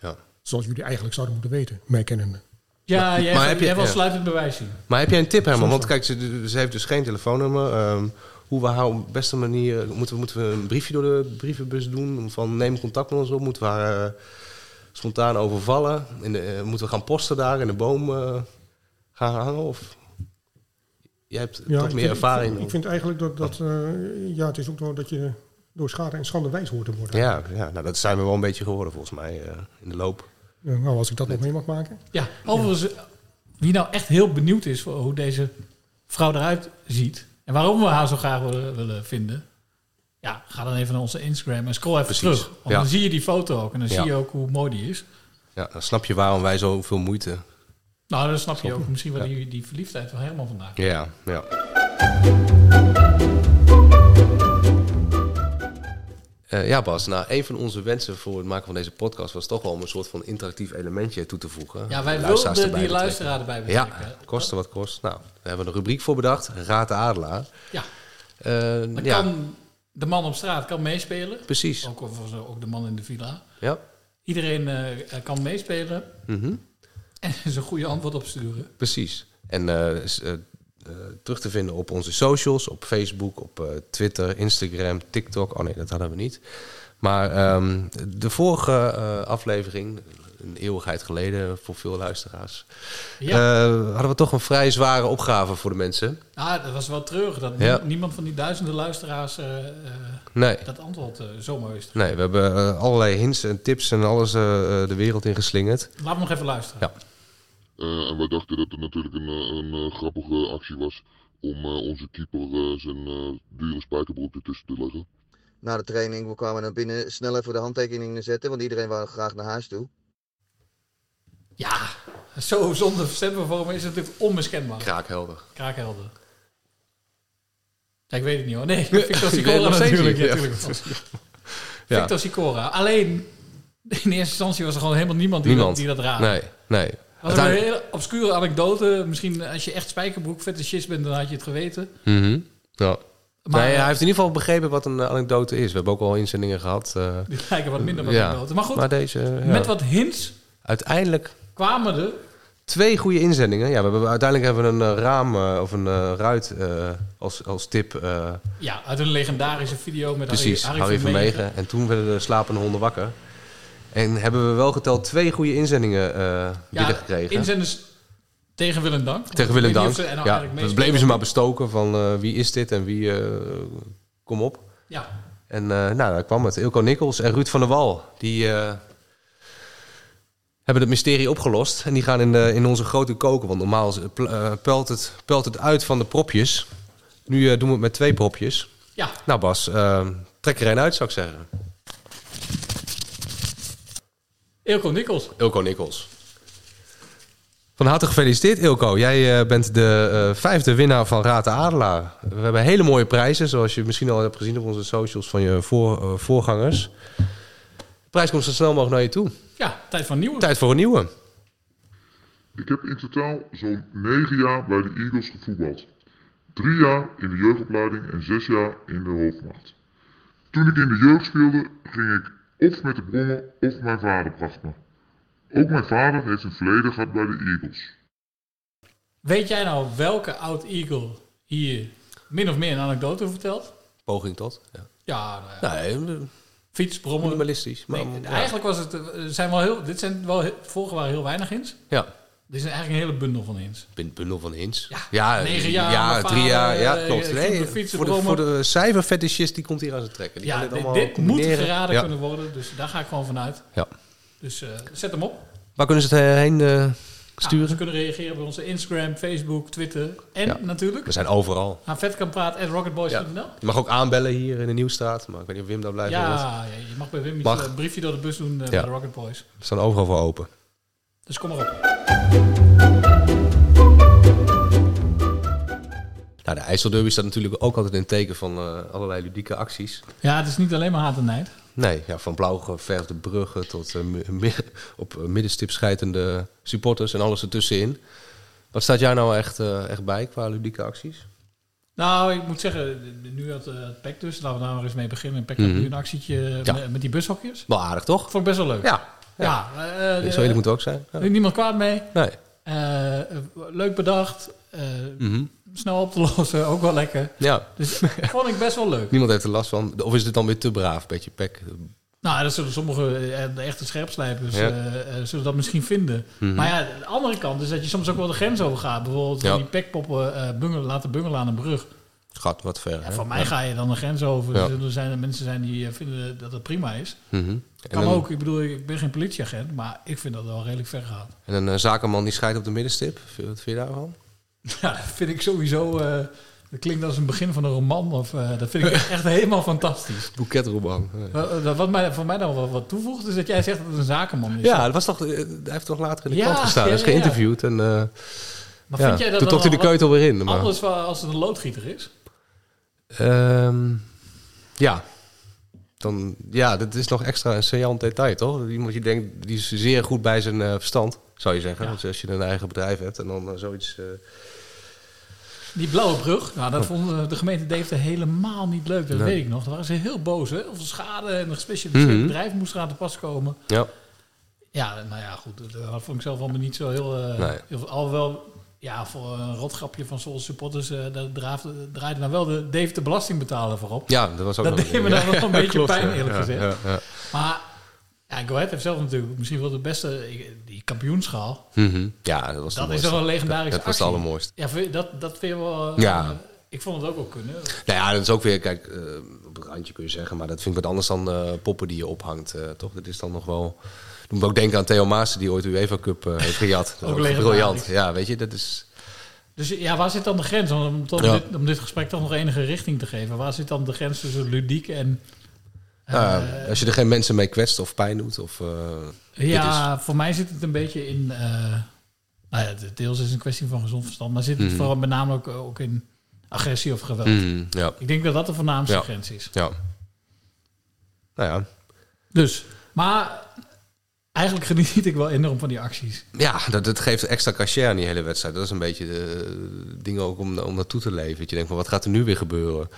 [SPEAKER 8] Ja.
[SPEAKER 17] Zoals jullie eigenlijk zouden moeten weten, mij kennende.
[SPEAKER 2] Ja, jij,
[SPEAKER 8] maar
[SPEAKER 2] jij
[SPEAKER 8] heb je-
[SPEAKER 2] wil
[SPEAKER 8] ja.
[SPEAKER 2] sluitend bewijs zien.
[SPEAKER 8] Maar heb jij een tip, Herman?
[SPEAKER 2] Soms
[SPEAKER 8] Want kijk, ze, ze heeft dus geen telefoonnummer. Ehm, hoe we haar op de beste manier... Moeten we, moeten we een briefje door de brievenbus doen? Van neem contact met ons op. Moeten we haar eh, spontaan overvallen? In de, eh, moeten we gaan posten daar in de boom eh, gaan hangen? Of... Jij hebt
[SPEAKER 17] Ja,
[SPEAKER 8] toch
[SPEAKER 17] ik
[SPEAKER 8] meer
[SPEAKER 17] vind- Ik
[SPEAKER 8] ervaring.
[SPEAKER 17] vind, ik vind eigenlijk dat, dat eh, ja, het is ook wel dat je door schade en schande wijs hoort te worden.
[SPEAKER 8] Ja, ja nou, dat zijn we wel een beetje geworden volgens mij eh, in de loop.
[SPEAKER 17] Eh, nou, als ik dat nog mee mag maken.
[SPEAKER 2] Ja, overigens, wie nou echt heel benieuwd is voor hoe deze vrouw eruit ziet... en waarom we haar zo graag willen, willen vinden... ja, ga dan even naar onze Instagram en scroll even
[SPEAKER 8] Precies,
[SPEAKER 2] terug. Want
[SPEAKER 8] ja.
[SPEAKER 2] dan zie je die foto ook en dan
[SPEAKER 8] Ja.
[SPEAKER 2] zie je ook hoe mooi die is.
[SPEAKER 8] Ja, dan snap je waarom wij zoveel moeite...
[SPEAKER 2] Nou, dan snap je ook misschien wel
[SPEAKER 8] Ja.
[SPEAKER 2] die, die verliefdheid van Herman vandaag.
[SPEAKER 8] Ja, ja. Eh, ja, Bas, nou, een van onze wensen voor het maken van deze podcast was toch wel om een soort van interactief elementje toe te voegen.
[SPEAKER 2] Ja, wij
[SPEAKER 8] De luisteraars
[SPEAKER 2] wilden die
[SPEAKER 8] erbij betrekken.
[SPEAKER 2] luisteraar erbij betrekken,
[SPEAKER 8] Ja, koste wat kost. Nou, we hebben een rubriek voor bedacht: Raad de Adelaar.
[SPEAKER 2] Ja.
[SPEAKER 8] Eh,
[SPEAKER 2] Dan
[SPEAKER 8] ja.
[SPEAKER 2] kan Oh. de man op straat kan meespelen.
[SPEAKER 8] Precies.
[SPEAKER 2] Ook, of- ook de man in de villa.
[SPEAKER 8] Ja.
[SPEAKER 2] Iedereen eh, eh, kan meespelen
[SPEAKER 8] Mhm.
[SPEAKER 2] en zijn goede antwoord opsturen.
[SPEAKER 8] Precies. En eh, is, eh, eh, terug te vinden op onze socials, op Facebook, op eh, Twitter, Instagram, TikTok. Oh nee, dat hadden we niet. Maar ehm, de vorige eh, aflevering, een eeuwigheid geleden voor veel luisteraars,
[SPEAKER 2] Ja.
[SPEAKER 8] eh, hadden we toch een vrij zware opgave voor de mensen.
[SPEAKER 2] Ah, dat was wel treurig dat
[SPEAKER 8] Ja.
[SPEAKER 2] nie- niemand van die duizenden luisteraars eh, eh,
[SPEAKER 8] Nee.
[SPEAKER 2] dat antwoord eh, zomaar wist.
[SPEAKER 8] Nee, we hebben eh, allerlei hints en tips en alles eh, eh, de wereld in geslingerd.
[SPEAKER 2] Laat me nog even luisteren.
[SPEAKER 8] Ja.
[SPEAKER 20] Eh, en wij dachten dat het natuurlijk een, eh, een eh, grappige actie was om eh, onze keeper eh, zijn eh, dure spijkerbroek ertussen te leggen.
[SPEAKER 21] Na de training, we kwamen naar binnen snel even de handtekeningen zetten, want iedereen wou graag naar huis toe.
[SPEAKER 2] Zo zonder stemvervorming is het natuurlijk onmiskenbaar.
[SPEAKER 8] Kraakhelder.
[SPEAKER 2] Kraakhelder. Ja, ik weet het niet hoor. Nee, Victor
[SPEAKER 8] Ik weet het
[SPEAKER 2] Sicora
[SPEAKER 8] nog steeds
[SPEAKER 2] natuurlijk.
[SPEAKER 8] niet,
[SPEAKER 2] Ja,
[SPEAKER 8] ja.
[SPEAKER 2] natuurlijk wel.
[SPEAKER 8] Ja.
[SPEAKER 2] Victor Sicora. Alleen, in eerste instantie was er gewoon helemaal niemand die,
[SPEAKER 8] Niemand.
[SPEAKER 2] Dat, die dat raadde.
[SPEAKER 8] Nee, nee.
[SPEAKER 2] Dat was een hele obscure anekdote. Misschien als je echt spijkerbroek fetishist bent, dan had je het geweten.
[SPEAKER 8] Mhm. Ja.
[SPEAKER 2] Maar-
[SPEAKER 8] nee, hij heeft in ieder geval begrepen wat een eh, anekdote is. We hebben ook al inzendingen gehad. eh,
[SPEAKER 2] Die lijken wat minder wat
[SPEAKER 8] ja.
[SPEAKER 2] anekdoten. Maar goed,
[SPEAKER 8] deze, eh,
[SPEAKER 2] met
[SPEAKER 8] ja.
[SPEAKER 2] wat hints
[SPEAKER 8] Uiteindelijk
[SPEAKER 2] kwamen er...
[SPEAKER 8] twee goede inzendingen. Ja, we hebben, uiteindelijk hebben we een eh, raam eh, of een eh, ruit eh, als, als tip. eh,
[SPEAKER 2] Ja, uit een legendarische video met
[SPEAKER 8] precies,
[SPEAKER 2] Harry,
[SPEAKER 8] Harry, Vermegen. En toen werden de slapende honden wakker. En hebben we wel geteld twee goede inzendingen eh binnengekregen.
[SPEAKER 2] Inzenders tegen Willem Dank.
[SPEAKER 8] Tegen Willem
[SPEAKER 2] Ik weet
[SPEAKER 8] Dank.
[SPEAKER 2] niet of ze er nou
[SPEAKER 8] ja,
[SPEAKER 2] eigenlijk
[SPEAKER 8] we
[SPEAKER 2] mee
[SPEAKER 8] bleven ze
[SPEAKER 2] spelen.
[SPEAKER 8] maar bestoken van eh, wie is dit en wie eh, kom op.
[SPEAKER 2] Ja.
[SPEAKER 8] En eh, nou, daar kwam het. Ilko Nikkels en Ruud van der Wal. Die eh, hebben het mysterie opgelost. En die gaan in, de, in onze grote koken. Want normaal is- pl- eh, pelt, het, pelt het uit van de propjes. Nu eh, doen we het met twee propjes.
[SPEAKER 2] Ja.
[SPEAKER 8] Nou Bas, eh, trek er een uit zou ik zeggen.
[SPEAKER 2] Ilko Nikkels.
[SPEAKER 8] Ilko Nikkels. Van harte gefeliciteerd, Ilko. Jij eh, bent de eh, vijfde winnaar van Raad de Adelaar. We hebben hele mooie prijzen, zoals je misschien al hebt gezien op onze socials van je voor, eh, voorgangers. De prijs komt zo snel mogelijk naar je toe.
[SPEAKER 2] Ja, tijd voor nieuwe.
[SPEAKER 8] Tijd voor een nieuwe.
[SPEAKER 20] Ik heb in totaal zo'n 9 jaar bij de Eagles gevoetbald. 3 jaar in de jeugdopleiding en 6 jaar in de hoofdmacht. Toen ik in de jeugd speelde, ging ik of met de brommen of mijn vader bracht me. Ook mijn vader heeft een verleden gehad bij de Eagles.
[SPEAKER 2] Weet jij nou welke oud Eagle hier min of meer een anekdote vertelt?
[SPEAKER 8] Poging tot. Ja.
[SPEAKER 2] Ja, nou ja.
[SPEAKER 8] Nee,
[SPEAKER 2] Fiets, brommen.
[SPEAKER 8] Minimalistisch. Maar,
[SPEAKER 2] Nee,
[SPEAKER 8] ja.
[SPEAKER 2] Eigenlijk was het, eh, zijn wel heel, dit zijn wel heel, vorige waren heel weinig hints.
[SPEAKER 8] Ja.
[SPEAKER 2] Dit is eigenlijk een hele bundel van hints.
[SPEAKER 8] Bin- Bundel van hints. Ja,
[SPEAKER 2] negen
[SPEAKER 8] eh,
[SPEAKER 2] jaar,
[SPEAKER 8] Ja,
[SPEAKER 2] mijn
[SPEAKER 8] drie
[SPEAKER 2] vader,
[SPEAKER 8] jaar. Ja,
[SPEAKER 2] eh,
[SPEAKER 8] klopt.
[SPEAKER 2] ik
[SPEAKER 8] Nee,
[SPEAKER 2] zoek een fiets,
[SPEAKER 8] voor, de,
[SPEAKER 2] een
[SPEAKER 8] voor de cijferfetischist die komt hier aan zijn trekken. Die
[SPEAKER 2] Ja,
[SPEAKER 8] kan dit
[SPEAKER 2] dit,
[SPEAKER 8] allemaal
[SPEAKER 2] dit moet
[SPEAKER 8] combineren.
[SPEAKER 2] geraden
[SPEAKER 8] Ja.
[SPEAKER 2] kunnen worden, dus daar ga ik gewoon vanuit.
[SPEAKER 8] Ja.
[SPEAKER 2] Dus eh, zet hem op.
[SPEAKER 8] Waar kunnen ze het heen
[SPEAKER 2] Ah.
[SPEAKER 8] eh,
[SPEAKER 2] Ja,
[SPEAKER 8] sturen?
[SPEAKER 2] ze kunnen reageren bij onze Instagram, Facebook, Twitter en
[SPEAKER 8] Ja. Dus-
[SPEAKER 2] natuurlijk...
[SPEAKER 8] We zijn overal.
[SPEAKER 2] Aan vetkamppraat.rocketboys.nl
[SPEAKER 8] Je mag ook aanbellen hier in de Nieuwstraat, maar ik weet niet of Wim daar blijft. of
[SPEAKER 2] Ja,
[SPEAKER 8] wat.
[SPEAKER 2] ja, je mag bij Wim iets,
[SPEAKER 8] Mag.
[SPEAKER 2] eh, een briefje door de bus doen eh, bij
[SPEAKER 8] Ja.
[SPEAKER 2] de Rocket Boys.
[SPEAKER 8] We staan overal voor open.
[SPEAKER 2] Dus kom maar op.
[SPEAKER 8] Nou, de IJsselderby staat natuurlijk ook altijd in het teken van eh, allerlei ludieke acties.
[SPEAKER 2] Ja, het is niet alleen maar haat en nijd.
[SPEAKER 8] Nee, ja, van blauw geverfde bruggen tot eh, mi- mi- op eh, middenstip schijtende supporters en alles ertussenin. Wat staat jou nou echt, eh, echt bij qua ludieke acties?
[SPEAKER 2] Nou, ik moet zeggen, nu had eh, het PEC dus, laten we daar maar eens mee beginnen. PEC had
[SPEAKER 8] Mhm.
[SPEAKER 2] nu een actietje
[SPEAKER 8] Ja.
[SPEAKER 2] met, met die bushokjes.
[SPEAKER 8] Wel aardig, toch?
[SPEAKER 2] Vond ik best wel leuk.
[SPEAKER 8] Ja.
[SPEAKER 2] Ja, eh, eh,
[SPEAKER 8] Zo eerlijk moet het ook zijn. Ja.
[SPEAKER 2] Er is niemand kwaad mee.
[SPEAKER 8] Nee.
[SPEAKER 2] Eh, eh, leuk bedacht. Eh,
[SPEAKER 8] Mhm.
[SPEAKER 2] Snel op te lossen, ook wel lekker.
[SPEAKER 8] Ja.
[SPEAKER 2] Dus vond ik best wel leuk.
[SPEAKER 8] Niemand heeft er last van. Of is dit dan weer te braaf, beetje pek? eh,
[SPEAKER 2] Nou, dat zullen sommige eh, de echte scherpslijpers
[SPEAKER 8] Ja.
[SPEAKER 2] eh, eh, zullen dat misschien vinden.
[SPEAKER 8] Mhm.
[SPEAKER 2] Maar ja, de andere kant is dat je soms ook wel de grens overgaat. Bijvoorbeeld
[SPEAKER 8] Ja.
[SPEAKER 2] die pekpoppen eh, bungelen, laten bungelen aan een brug.
[SPEAKER 8] Gaat wat ver.
[SPEAKER 2] Ja,
[SPEAKER 8] hè?
[SPEAKER 2] voor mij
[SPEAKER 8] Ja.
[SPEAKER 2] ga je dan de grens over.
[SPEAKER 8] Ja.
[SPEAKER 2] Dus er zijn er mensen zijn die eh, vinden dat het prima is.
[SPEAKER 8] Mhm. En
[SPEAKER 2] Kan
[SPEAKER 8] dan-
[SPEAKER 2] ook. Ik bedoel, ik ben geen politieagent, maar ik vind dat wel redelijk ver gaat.
[SPEAKER 8] En een eh, zakenman die scheidt op de middenstip. Vind- Wat vind je daarvan?
[SPEAKER 2] Ja, dat vind ik sowieso. eh, dat klinkt als een begin van een roman. Of, eh, dat vind ik echt helemaal fantastisch.
[SPEAKER 8] Boeketroban.
[SPEAKER 2] Wat, wat mij, voor mij dan wel wat toevoegt, is dat jij zegt dat het een zakenman is.
[SPEAKER 8] Ja, dat was toch, eh, hij heeft toch later in de
[SPEAKER 2] Ja,
[SPEAKER 8] krant gestaan. Hij is
[SPEAKER 2] ja, ja, ja.
[SPEAKER 8] geïnterviewd. En, eh,
[SPEAKER 2] Maar
[SPEAKER 8] ja,
[SPEAKER 2] vind jij dat dan
[SPEAKER 8] toen trok hij de
[SPEAKER 2] wel wat
[SPEAKER 8] keutel weer in. Maar,
[SPEAKER 2] Anders wel als het een loodgieter is.
[SPEAKER 8] Ehm, ja. Dan, ja, dat is nog extra een saillant detail, toch? Iemand die denkt, die is zeer goed bij zijn eh, verstand, zou je zeggen. Als, als je een eigen bedrijf hebt en dan eh, zoiets... eh,
[SPEAKER 2] Die blauwe brug, nou, dat vond eh, de gemeente Deventer helemaal niet leuk. Dat
[SPEAKER 8] Nee.
[SPEAKER 2] weet ik nog. Daar waren ze heel boos. Hè? Of schade en een gespecialiseerd
[SPEAKER 8] Mhm.
[SPEAKER 2] bedrijf moest eraan te pas komen.
[SPEAKER 8] ja.
[SPEAKER 2] Ja, nou ja, goed. Dat dat vond ik zelf allemaal niet zo heel... eh
[SPEAKER 8] Nee.
[SPEAKER 2] heel- alhoewel, ja, voor een rotgrapje van Sol supporters... eh daar draafde- draaide dan wel de Dave de belastingbetaler voor op.
[SPEAKER 8] ja, dat was ook
[SPEAKER 2] Dat
[SPEAKER 8] nog-
[SPEAKER 2] deed me dan
[SPEAKER 8] Ja,
[SPEAKER 2] wel een beetje
[SPEAKER 8] klopt,
[SPEAKER 2] pijn,
[SPEAKER 8] ja.
[SPEAKER 2] eerlijk
[SPEAKER 8] Ja,
[SPEAKER 2] gezegd.
[SPEAKER 8] ja, ja.
[SPEAKER 2] Maar ja, Go Ahead heeft zelf natuurlijk misschien wel de beste... Die kampioenschaal.
[SPEAKER 8] Mhm. Ja, dat was de
[SPEAKER 2] Dat is
[SPEAKER 8] mooiste.
[SPEAKER 2] toch een legendarische
[SPEAKER 8] Dat, dat was de
[SPEAKER 2] actie.
[SPEAKER 8] allermooiste.
[SPEAKER 2] Ja, vind je- dat, dat vind je wel... eh,
[SPEAKER 8] Ja.
[SPEAKER 2] Ik vond het ook wel kunnen.
[SPEAKER 8] Nou ja, dat is ook weer, kijk, eh, op het randje kun je zeggen, maar dat vind ik wat anders dan eh, poppen die je ophangt, eh, toch? Dat is dan nog wel. Doe me ook denken aan Theo Maassen, die ooit de UEFA Cup eh, heeft gejat. Dat is
[SPEAKER 2] Ook legendarisch.
[SPEAKER 8] briljant. Ja, weet je, dat is.
[SPEAKER 2] Dus ja, waar zit dan de grens? Om, om,
[SPEAKER 8] Ja.
[SPEAKER 2] dit, om dit gesprek toch nog enige richting te geven. Waar zit dan de grens tussen ludiek en...
[SPEAKER 8] eh, als je er geen mensen mee kwetst of pijn doet, of. eh, dit
[SPEAKER 2] Ja, voor mij zit het een beetje in... eh, nou ja, deels is het een kwestie van gezond verstand. Maar zit het
[SPEAKER 8] Mhm.
[SPEAKER 2] vooral met name ook, ook in agressie of geweld.
[SPEAKER 8] Mhm, ja.
[SPEAKER 2] Ik denk dat dat de voornaamste
[SPEAKER 8] Ja.
[SPEAKER 2] grens is.
[SPEAKER 8] Ja. Nou ja.
[SPEAKER 2] Dus, maar eigenlijk geniet ik wel enorm van die acties.
[SPEAKER 8] Ja, dat, dat geeft extra cachet aan die hele wedstrijd. Dat is een beetje de dingen ook om, om naartoe te leven. Dat je denkt van, wat gaat er nu weer gebeuren?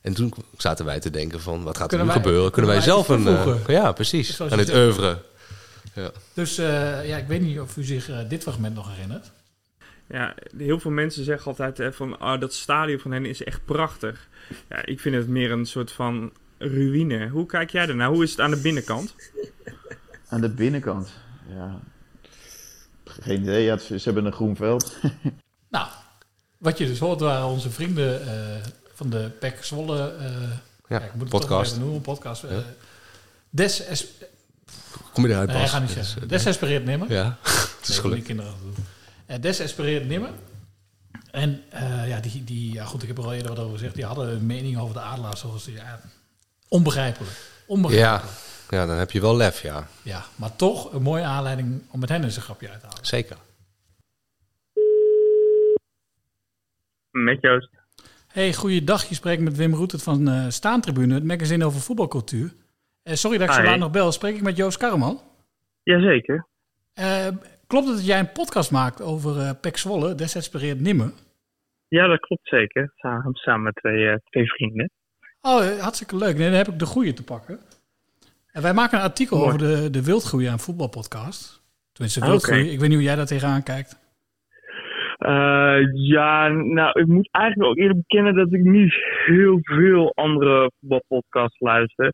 [SPEAKER 8] En toen zaten wij te denken van, wat gaat
[SPEAKER 2] Kunnen
[SPEAKER 8] er nu
[SPEAKER 2] wij-
[SPEAKER 8] gebeuren? Kunnen wij
[SPEAKER 2] kunnen wij
[SPEAKER 8] zelf een...
[SPEAKER 2] iets
[SPEAKER 8] eh,
[SPEAKER 2] toevoegen?
[SPEAKER 8] ja, precies.
[SPEAKER 2] Zoals
[SPEAKER 8] Aan
[SPEAKER 2] je
[SPEAKER 8] het
[SPEAKER 2] zegt.
[SPEAKER 8] oeuvre. Ja.
[SPEAKER 2] Dus eh, ja, ik weet niet of u zich eh, dit fragment nog herinnert.
[SPEAKER 3] Ja, heel veel mensen zeggen altijd hè, van ah, dat stadion van hen is echt prachtig. Ja, ik vind het meer een soort van ruïne. Hoe kijk jij daarnaar? Hoe is het aan de binnenkant?
[SPEAKER 16] Aan de binnenkant, ja. Geen idee, ja, ze, ze hebben een groen veld.
[SPEAKER 2] Nou, wat je dus hoort waren onze vrienden eh, van de Pek Zwolle... eh,
[SPEAKER 8] Ja,
[SPEAKER 2] ik moet het toch nog
[SPEAKER 8] podcast.
[SPEAKER 2] even noemen, podcast. eh,
[SPEAKER 8] Ja.
[SPEAKER 2] Des... Es-
[SPEAKER 8] Kom je eruit,
[SPEAKER 2] Nee,
[SPEAKER 8] Bas?
[SPEAKER 2] ga niet
[SPEAKER 8] Dat is,
[SPEAKER 2] zeggen.
[SPEAKER 8] eh,
[SPEAKER 2] Desespereerd nimmer.
[SPEAKER 8] Ja, het is
[SPEAKER 2] Nee,
[SPEAKER 8] gelukt.
[SPEAKER 2] die kinderen dat doen. Eh, Desespereerd nimmer. En eh, ja, die, die, ja, goed, ik heb er al eerder wat over gezegd. Die hadden een mening over de adelaars zoals die... Ja, onbegrijpelijk. Onbegrijpelijk.
[SPEAKER 8] Ja. ja, dan heb je wel lef, ja.
[SPEAKER 2] Ja, maar toch een mooie aanleiding om met hen eens een grapje uit te halen.
[SPEAKER 8] Zeker.
[SPEAKER 3] Met Joost.
[SPEAKER 2] Hey, goeiedag. Je spreekt met Wim Roetert van eh, Staantribune, het magazine over voetbalcultuur. Eh, sorry dat ik zo
[SPEAKER 3] Hi.
[SPEAKER 2] laat nog bel. Spreek ik met Joost Karreman?
[SPEAKER 3] Jazeker.
[SPEAKER 2] Eh, klopt het dat jij een podcast maakt over eh Pek Zwolle, Desespereerd Nimmer?
[SPEAKER 3] Ja, dat klopt zeker. Samen, samen met twee, eh, twee vrienden.
[SPEAKER 2] Oh, eh, hartstikke leuk. Nee, dan heb ik de goeie te pakken. En wij maken een artikel
[SPEAKER 3] Mooi.
[SPEAKER 2] over de, de wildgroei aan voetbalpodcast. Tenminste,
[SPEAKER 3] Ah,
[SPEAKER 2] wildgroei.
[SPEAKER 3] oké.
[SPEAKER 2] Ik weet niet hoe jij daar tegenaan kijkt.
[SPEAKER 3] Eh, ja, nou, ik moet eigenlijk ook eerlijk bekennen dat ik niet heel veel andere voetbalpodcasts luister.
[SPEAKER 16] E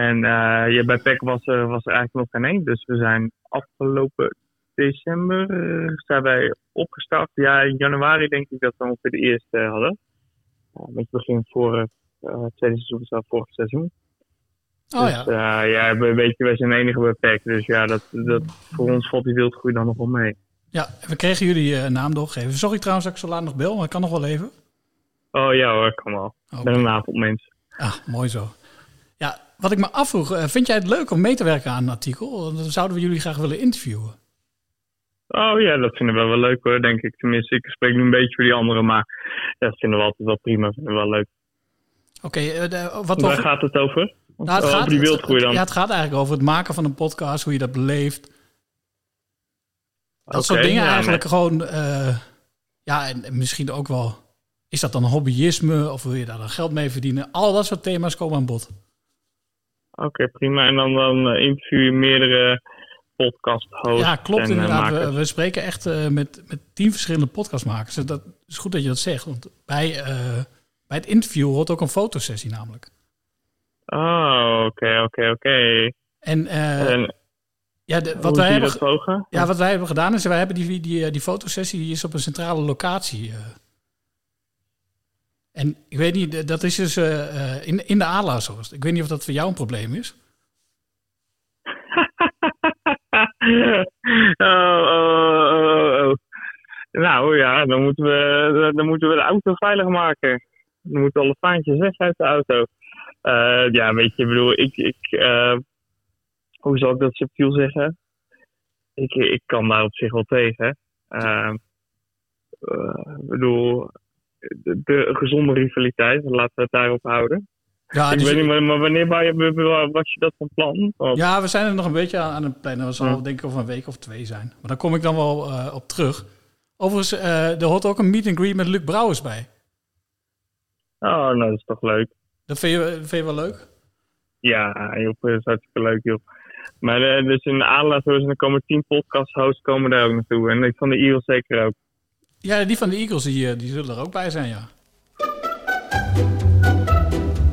[SPEAKER 16] eh,
[SPEAKER 3] En eh, ja, bij PEC was, er was er eigenlijk nog geen één. Dus we zijn afgelopen
[SPEAKER 16] december eh, zijn wij opgestart. Ja, in januari denk ik dat we ongeveer de eerste eh, hadden. Ja, met begin voor eh, het tweede seizoen, dus dat vorig seizoen.
[SPEAKER 2] Oh
[SPEAKER 16] Dus, eh, ja, we- weet je, wij zijn de enige beperkt. Dus ja, dat, dat, voor ons valt die wildgroei dan nog wel mee.
[SPEAKER 2] Ja, we kregen jullie eh, naam doorgegeven. Sorry trouwens dat ik zo laat nog bel, maar ik kan nog wel even. Oh.
[SPEAKER 16] Oh ja hoor, kan wel. Ik ben een avondmens.
[SPEAKER 2] Ah, mooi zo. Ja, wat ik me afvroeg, eh, vind jij het leuk om mee te werken aan een artikel? Dan zouden we jullie graag willen interviewen.
[SPEAKER 16] Oh ja, dat vinden we wel leuk hoor, denk ik. Tenminste, ik spreek nu een beetje voor die anderen, maar dat vinden we altijd wel prima. Vinden we wel leuk.
[SPEAKER 2] Oké, eh, de- wat
[SPEAKER 16] Waar
[SPEAKER 2] over-
[SPEAKER 16] gaat het over?
[SPEAKER 2] Nou, het
[SPEAKER 16] Oh,
[SPEAKER 2] gaat,
[SPEAKER 16] over die wildgroei dan?
[SPEAKER 2] Ja, het gaat eigenlijk over het maken van een podcast, hoe je dat beleeft. Dat
[SPEAKER 16] Oké,
[SPEAKER 2] soort dingen
[SPEAKER 16] ja,
[SPEAKER 2] eigenlijk
[SPEAKER 16] nee.
[SPEAKER 2] gewoon. eh, ja, en, en misschien ook wel. Is dat dan hobbyisme of wil je daar dan geld mee verdienen? Al dat soort thema's komen aan bod.
[SPEAKER 16] Oké, prima. En dan, dan eh, interview je meerdere podcast hosts.
[SPEAKER 2] ja, klopt
[SPEAKER 16] en, eh,
[SPEAKER 2] inderdaad.
[SPEAKER 16] makers.
[SPEAKER 2] We, we spreken echt eh, met, met tien verschillende podcastmakers. En Dat is goed dat je dat zegt. Want bij, eh, bij het interview hoort ook een fotosessie namelijk.
[SPEAKER 16] Oh, oké, oké, oké.
[SPEAKER 2] En, eh,
[SPEAKER 16] En
[SPEAKER 2] Ja, de-
[SPEAKER 16] hoe
[SPEAKER 2] wat, wij
[SPEAKER 16] zie je
[SPEAKER 2] hebben,
[SPEAKER 16] dat
[SPEAKER 2] ge-
[SPEAKER 16] pogen?
[SPEAKER 2] ja, wat wij hebben gedaan is, wij hebben die, die, die fotosessie die is op een centrale locatie. eh. En ik weet niet, dat is dus eh, eh, in, in de Adelaarshorst. Ik weet niet of dat voor jou een probleem is.
[SPEAKER 16] oh, oh, oh, oh. Nou ja, dan moeten, we, dan moeten we de auto veilig maken. Dan moeten alle vaantjes weg uit de auto. Eh, ja, weet je, ik bedoel, ik... ik eh, hoe zal ik dat subtiel zeggen? Ik, ik kan daar op zich wel tegen. Eh, eh, ik bedoel, de, de gezonde rivaliteit, laten we het daarop houden.
[SPEAKER 2] Ja,
[SPEAKER 16] ik
[SPEAKER 2] dus-
[SPEAKER 16] weet niet, maar, maar wanneer wou je- was je dat van plan? Want-
[SPEAKER 2] Ja, we zijn er nog een beetje aan, aan het plannen. Dat zal denk ik over een week of twee zijn. Maar daar kom ik dan wel eh, op terug. Overigens, eh, er hoort ook een meet and greet met Luc Brouwers bij.
[SPEAKER 16] Oh, nou, dat is toch leuk.
[SPEAKER 2] Dat vind je, vind je wel leuk?
[SPEAKER 16] Ja, joh, dat is hartstikke leuk, joh. Maar eh, dus in de aanlaat en dan komen tien podcast-hosts komen daar ook naartoe. En ik van de Eagles zeker ook.
[SPEAKER 2] Ja, die van de Eagles, die, eh, die zullen er ook bij zijn, ja.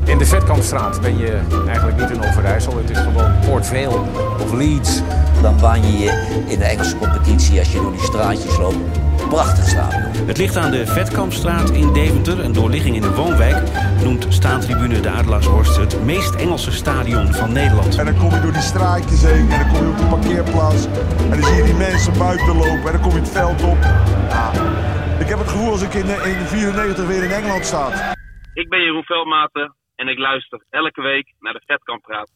[SPEAKER 4] In de Vetkampstraat ben je eigenlijk niet in Overijssel, het is gewoon Port Vale of Leeds.
[SPEAKER 5] Dan baan je je in de Engelse competitie als je door die straatjes loopt. Prachtig stadion.
[SPEAKER 22] Het ligt aan de Vetkampstraat in Deventer, een doorligging in een woonwijk. Noemt staantribune de Adelaarshorst het meest Engelse stadion van Nederland.
[SPEAKER 6] En dan kom je door die straatjes heen en dan kom je op de parkeerplaats. En dan zie je die mensen buiten lopen en dan kom je het veld op. Ja. Ik heb het gevoel als ik in, eh, in 94 weer in Engeland sta.
[SPEAKER 23] Ik ben Jeroen Veldmaten en ik luister elke week naar de Vetkamp Praat.